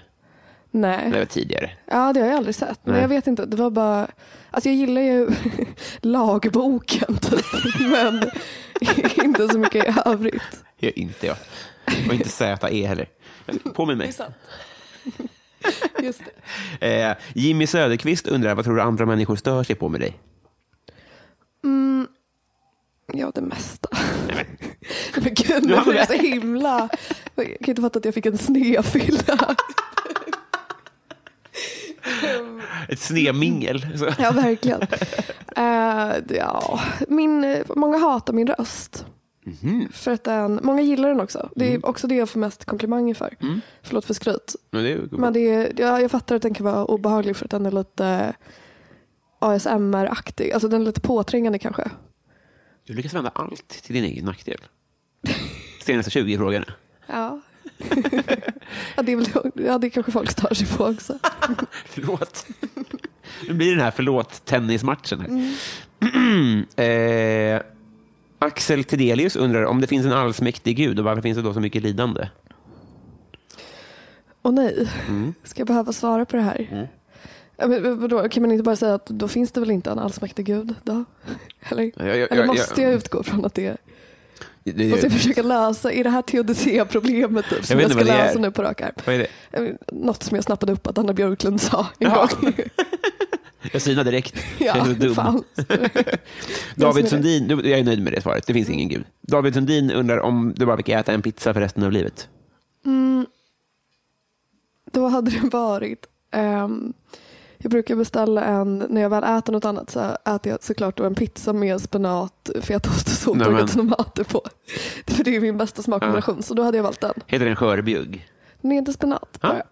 Speaker 2: Nej.
Speaker 1: Det var tidigare.
Speaker 2: Ja, det har jag aldrig sett. Men
Speaker 1: Nej.
Speaker 2: jag vet inte. Det var bara... Alltså jag gillar ju lagboken typ. Men inte så mycket i övrigt.
Speaker 1: Ja, inte jag. Och inte ZE heller. Påminn mig.
Speaker 2: Just det.
Speaker 1: Eh, Jimmy Söderqvist undrar, vad tror du andra människor stör sig på med dig?
Speaker 2: Mm. Ja, det mesta. Men gud,
Speaker 1: Nu
Speaker 2: nu
Speaker 1: har
Speaker 2: blir
Speaker 1: vi-
Speaker 2: jag så himla... Jag kan inte fatta att jag fick en snedfylla.
Speaker 1: Ett snemingel. Så.
Speaker 2: Mm. Ja, verkligen. Eh, ja. Min, många hatar min röst. För att den, många gillar den också. Det är också det jag får mest komplimanger för. Förlåt för skryt.
Speaker 1: Men det är ju
Speaker 2: Men det är, jag, jag fattar att den kan vara obehaglig för att den är lite ASMR-aktig. Alltså den är lite påträngande kanske.
Speaker 1: Du lyckas vända allt till din egen nackdel. Senaste 20 frågorna.
Speaker 2: Ja. ja, det är väl, ja, det kanske folk stör sig på också.
Speaker 1: Förlåt. Nu blir det den här förlåt-tennismatchen. här.
Speaker 2: Mm.
Speaker 1: eh, Axel Tidelius undrar om det finns en allsmäktig gud och varför finns det då så mycket lidande?
Speaker 2: Och nej, ska jag behöva svara på det här?
Speaker 1: Mm.
Speaker 2: Ja, men vad- vadå, kan man inte bara säga att då finns det väl inte en allsmäktig gud? Då? Eller,
Speaker 1: Ja, ja, ja,
Speaker 2: eller
Speaker 1: ja,
Speaker 2: måste
Speaker 1: ja.
Speaker 2: jag utgå från att det är...
Speaker 1: Det,
Speaker 2: Måste jag försöka lösa, är det här teodicea-problemet typ, som
Speaker 1: vet
Speaker 2: jag,
Speaker 1: inte
Speaker 2: ska
Speaker 1: vad det är.
Speaker 2: lösa nu på rak arm?
Speaker 1: vad är det?
Speaker 2: Eh, Något som jag snappade upp att Anna Björklund sa en
Speaker 1: Jaha.
Speaker 2: gång.
Speaker 1: Jag synar direkt. jag är
Speaker 2: ja,
Speaker 1: så dum.
Speaker 2: fan.
Speaker 1: David
Speaker 2: som är
Speaker 1: Sundin, du- jag är nöjd med det svaret. Det finns ingen gud. David Sundin undrar om du bara fick äta en pizza för resten av livet.
Speaker 2: Mm. Då hade det varit... ehm, jag brukar beställa en, när jag väl äter något annat så äter jag såklart då en pizza med spenat, fetaost och
Speaker 1: Nämen.
Speaker 2: soltorkade tomater på. För det är min bästa smakkombination, så då hade jag valt den.
Speaker 1: Heter den skörbjugg?
Speaker 2: Den är inte spenat
Speaker 1: Ja.
Speaker 2: bara,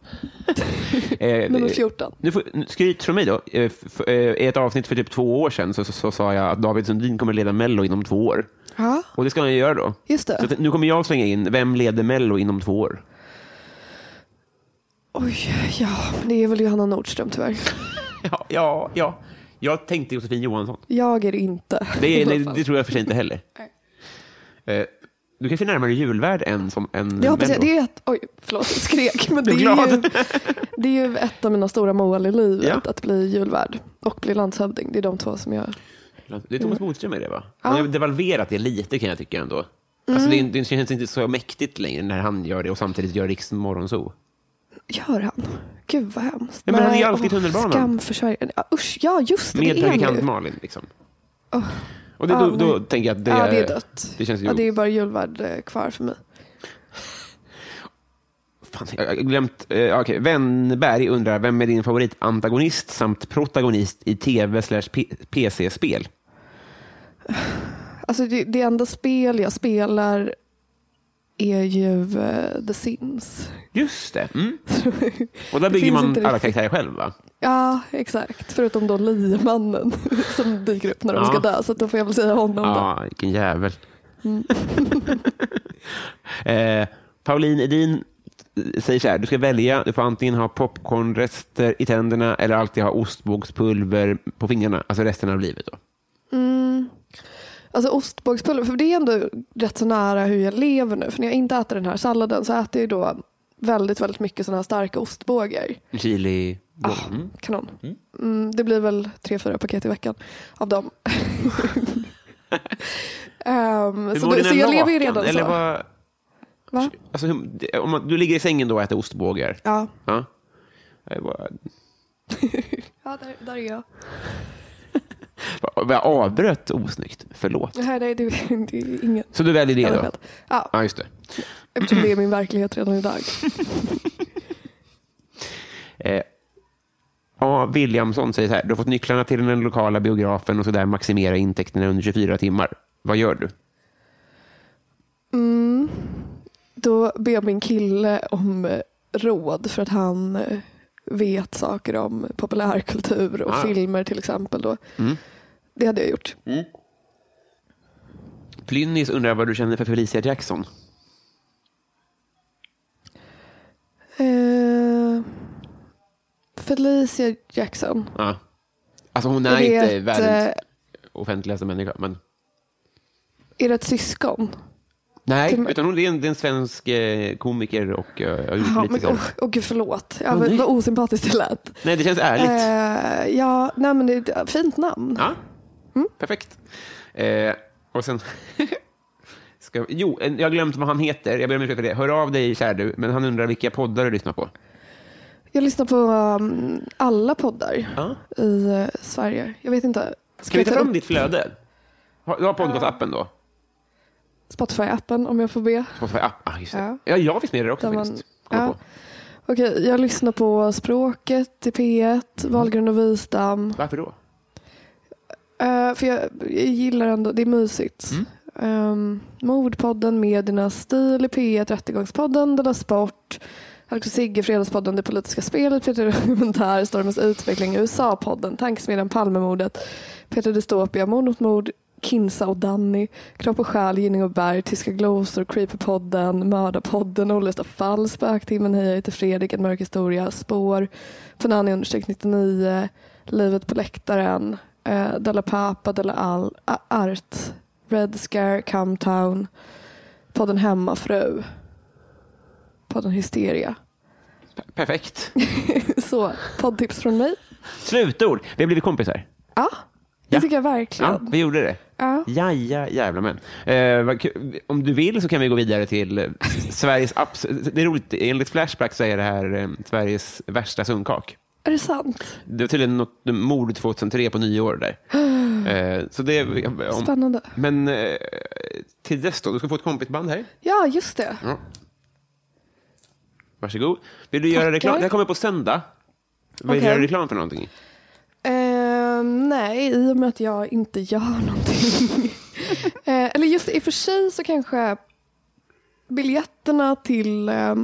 Speaker 1: Eh,
Speaker 2: nummer
Speaker 1: eh,
Speaker 2: 14.
Speaker 1: Nu får, nu- skryt från mig då. Eh, f- eh, I ett avsnitt för typ två år sedan så, så, så sa jag att David Sundin kommer leda Mello inom två år.
Speaker 2: Ja,
Speaker 1: Och det ska han ju göra då.
Speaker 2: just
Speaker 1: Så
Speaker 2: det.
Speaker 1: att, nu kommer jag slänga in, vem leder Mello inom två år?
Speaker 2: Oj, ja, det är väl Johanna Nordström tyvärr.
Speaker 1: Ja, ja, ja. Jag tänkte Josefin Johansson.
Speaker 2: Jag är det inte.
Speaker 1: Det,
Speaker 2: i
Speaker 1: är,
Speaker 2: alla
Speaker 1: nej,
Speaker 2: fall.
Speaker 1: det tror jag för sig inte heller. Eh, du kanske är närmare julvärd än som en
Speaker 2: Jag hoppas jag,
Speaker 1: Mello.
Speaker 2: det är ett, oj, förlåt, jag skrek. Men det,
Speaker 1: Du är
Speaker 2: är
Speaker 1: glad.
Speaker 2: ju, det är ju ett av mina stora mål i livet,
Speaker 1: Ja.
Speaker 2: att bli julvärd och bli landshövding. Det är de två som jag...
Speaker 1: Det är Thomas Bodström i det, va? Han har
Speaker 2: Ja. Mm.
Speaker 1: devalverat det lite, kan jag tycka ändå. Alltså, det, är- det känns inte så mäktigt längre när han gör det och samtidigt gör Riks Morgonzoo.
Speaker 2: Gör han? Gud vad hemskt.
Speaker 1: Ja, men han är ju
Speaker 2: Nej,
Speaker 1: alltid i
Speaker 2: åh,
Speaker 1: tunnelbanan.
Speaker 2: Skam för Sverige. Ja, usch, ja just det,
Speaker 1: Med
Speaker 2: det är han
Speaker 1: predikant
Speaker 2: ju.
Speaker 1: Malin. Liksom. Och det, då,
Speaker 2: Ja,
Speaker 1: då
Speaker 2: nej.
Speaker 1: tänker jag att det,
Speaker 2: ja, det är dött.
Speaker 1: det känns ju-
Speaker 2: ja, det är bara julvärd eh, kvar för mig.
Speaker 1: Fan, jag har glömt. Eh, okej. Wennberg undrar, vem är din favoritantagonist samt protagonist i tv slash P- PC-spel?
Speaker 2: Alltså det, det enda spel jag spelar är ju eh, The Sims.
Speaker 1: Just det. Mm. Och där bygger
Speaker 2: finns
Speaker 1: man
Speaker 2: inte
Speaker 1: alla
Speaker 2: riktigt.
Speaker 1: karaktärer själv, va?
Speaker 2: Ja, exakt. Förutom då liemannen som dyker upp när de
Speaker 1: Ja.
Speaker 2: ska dö. Så att då får jag väl säga honom då. Mm.
Speaker 1: Ja, vilken jävel. eh, Pauline Edin säger så här, du ska välja, du får antingen ha popcornrester i tänderna eller alltid ha ostbågspulver på fingrarna, alltså resten av livet. Då.
Speaker 2: Alltså ostbågspulver, för det är ändå rätt så nära hur jag lever nu. För när jag inte äter den här salladen så äter jag ju då väldigt, väldigt mycket sådana här starka ostbågar.
Speaker 1: Chili.
Speaker 2: Ah.
Speaker 1: Mm.
Speaker 2: Kanon. Mm, det blir väl tre, fyra paket i veckan av dem. Ehm, så,
Speaker 1: mår
Speaker 2: då,
Speaker 1: dina
Speaker 2: så jag lever
Speaker 1: lakan?
Speaker 2: ju redan
Speaker 1: eller
Speaker 2: så.
Speaker 1: Vad,
Speaker 2: Va?
Speaker 1: alltså, hur- om man, du ligger i sängen då och äter ostbågar?
Speaker 2: Ja,
Speaker 1: Ja. Eh, Det var-
Speaker 2: ja där, där är jag.
Speaker 1: vad Jag avbröt osnyggt, förlåt.
Speaker 2: Det här nej, det, är- det är ingen.
Speaker 1: Så du väljer det
Speaker 2: Jag
Speaker 1: då?
Speaker 2: vet. Ja,
Speaker 1: Ja, just det.
Speaker 2: eftersom det är min verklighet redan idag.
Speaker 1: Eh, A. Williamson säger så här. Du har fått nycklarna till den lokala biografen och så där maximera intäkterna under 24 timmar. Vad gör du?
Speaker 2: Mm. Då ber jag min kille om eh, råd för att han eh, vet saker om populärkultur och
Speaker 1: Ah.
Speaker 2: filmer till exempel. Då.
Speaker 1: Mm.
Speaker 2: Det hade jag gjort.
Speaker 1: Plynnis undrar vad du känner för Felicia Jackson.
Speaker 2: Eh, Felicia Jackson.
Speaker 1: Ja. Alltså hon
Speaker 2: Är
Speaker 1: är,
Speaker 2: det
Speaker 1: inte
Speaker 2: ett,
Speaker 1: världens
Speaker 2: eh,
Speaker 1: offentligaste människa. Men...
Speaker 2: Är det ett syskon?
Speaker 1: Mm, Nej,
Speaker 2: till-
Speaker 1: utan hon det är en, det är en svensk eh, komiker och eh,
Speaker 2: Ja, men,
Speaker 1: politiker.
Speaker 2: åh, åh, gud, förlåt. Ja,
Speaker 1: Åh, nej.
Speaker 2: vad, vad osympatiskt det lät.
Speaker 1: Nej, det känns ärligt.
Speaker 2: Eh, ja, nej, men det är ett fint namn.
Speaker 1: Ja,
Speaker 2: mm.
Speaker 1: perfekt. Eh, och sen... Ska, jo, en- jag har glömt vad han heter. Jag ber om ursäkt för det. Hör av dig, kär du. Men han undrar vilka poddar du lyssnar på.
Speaker 2: Jag lyssnar på um, alla poddar
Speaker 1: Ja.
Speaker 2: i eh, Sverige. Jag vet inte.
Speaker 1: Ska vi ta
Speaker 2: jag
Speaker 1: fram
Speaker 2: upp
Speaker 1: ditt flöde? Har- Du har podcastappen då?
Speaker 2: Spotify-appen om jag får be?
Speaker 1: Spotify app. Ah, just det.
Speaker 2: Ja.
Speaker 1: Ja, jag finns med i det också
Speaker 2: Där man-
Speaker 1: faktiskt. Kom
Speaker 2: ja.
Speaker 1: på.
Speaker 2: Och Okej, jag lyssnar på Språket i P1, Wahlgren och Wistam.
Speaker 1: Varför då?
Speaker 2: Eh, för jag, jag gillar ändå, det är mysigt.
Speaker 1: Mm.
Speaker 2: Ehm, Mordpodden, Mediernas stil, i P1, Rättegångspodden, Della Sport, Alex och Sigge, Fredagspodden, Det politiska spelet, Peter Dokumentär, Stormens utveckling, USA-podden, Tankesmedjan Palmemordet, Peter Dystopia, Mord mot mord, Kinsa och Danny, Kropp och själ, Gynning och Berg, Tyska glosor, Creeperpodden, Mördarpodden, Olösta fall, Spöktimmen, Hej jag heter Fredrik, En mörk historia, Spår, Fanani understreck 99, Livet på läktaren, eh, Della Papa, Della All, A- Art, Red Scare, Come Town, podden Hemmafru, podden Hysteria.
Speaker 1: P- perfekt.
Speaker 2: Så, poddtips från mig.
Speaker 1: Slutord. Vi har blivit kompisar.
Speaker 2: Ja, det
Speaker 1: Ja.
Speaker 2: tycker jag
Speaker 1: Ja,
Speaker 2: verkligen.
Speaker 1: vi gjorde det.
Speaker 2: Ja.
Speaker 1: Jaja, jävla män. Eh, vad kul. om du vill så kan vi gå vidare till eh, Sveriges... abs- Det är roligt, enligt Flashback så är det här eh, Sveriges värsta sundkak.
Speaker 2: Är det sant?
Speaker 1: Det var tydligen något mord 2003 på nyår där. Eh, så det, om,
Speaker 2: Spännande.
Speaker 1: men eh, till dess då, du ska få ett kompisband här.
Speaker 2: Ja, just det.
Speaker 1: Ja. Varsågod. Vill du göra
Speaker 2: Tackar.
Speaker 1: reklam? Det här kommer på söndag. Vill du
Speaker 2: Okej.
Speaker 1: göra reklam för någonting?
Speaker 2: Eh, nej, i och med att jag inte gör någonting. eh, eller just i och för sig så kanske biljetterna till eh,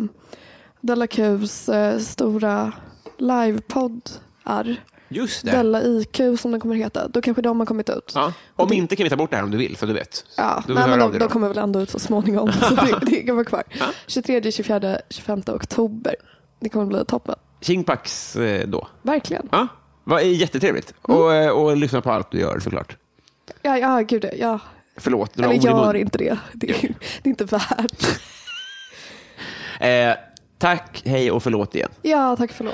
Speaker 2: Della Qs eh, stora livepodd är
Speaker 1: Just det.
Speaker 2: Della IQ som den kommer heta. Då kanske de har kommit ut.
Speaker 1: Ja. Om inte kan vi ta bort det här om du vill, så du vet.
Speaker 2: Ja,
Speaker 1: Du
Speaker 2: nej,
Speaker 1: hör
Speaker 2: men
Speaker 1: av
Speaker 2: de,
Speaker 1: dig
Speaker 2: de
Speaker 1: då.
Speaker 2: kommer väl ändå ut så småningom. så det, det kan vara kvar. 23, 24, 25 oktober. Det kommer bli toppen.
Speaker 1: Kingpax eh, då.
Speaker 2: Verkligen.
Speaker 1: Ja, vad är jättetrevligt.
Speaker 2: Mm.
Speaker 1: Och, eh, och lyssna på allt du gör såklart.
Speaker 2: Ja, ja gud ja.
Speaker 1: Förlåt, några
Speaker 2: Eller
Speaker 1: ord i
Speaker 2: gör
Speaker 1: mun.
Speaker 2: inte det. Det är, det är inte värt.
Speaker 1: Eh, tack, hej och förlåt igen.
Speaker 2: Ja, tack förlåt.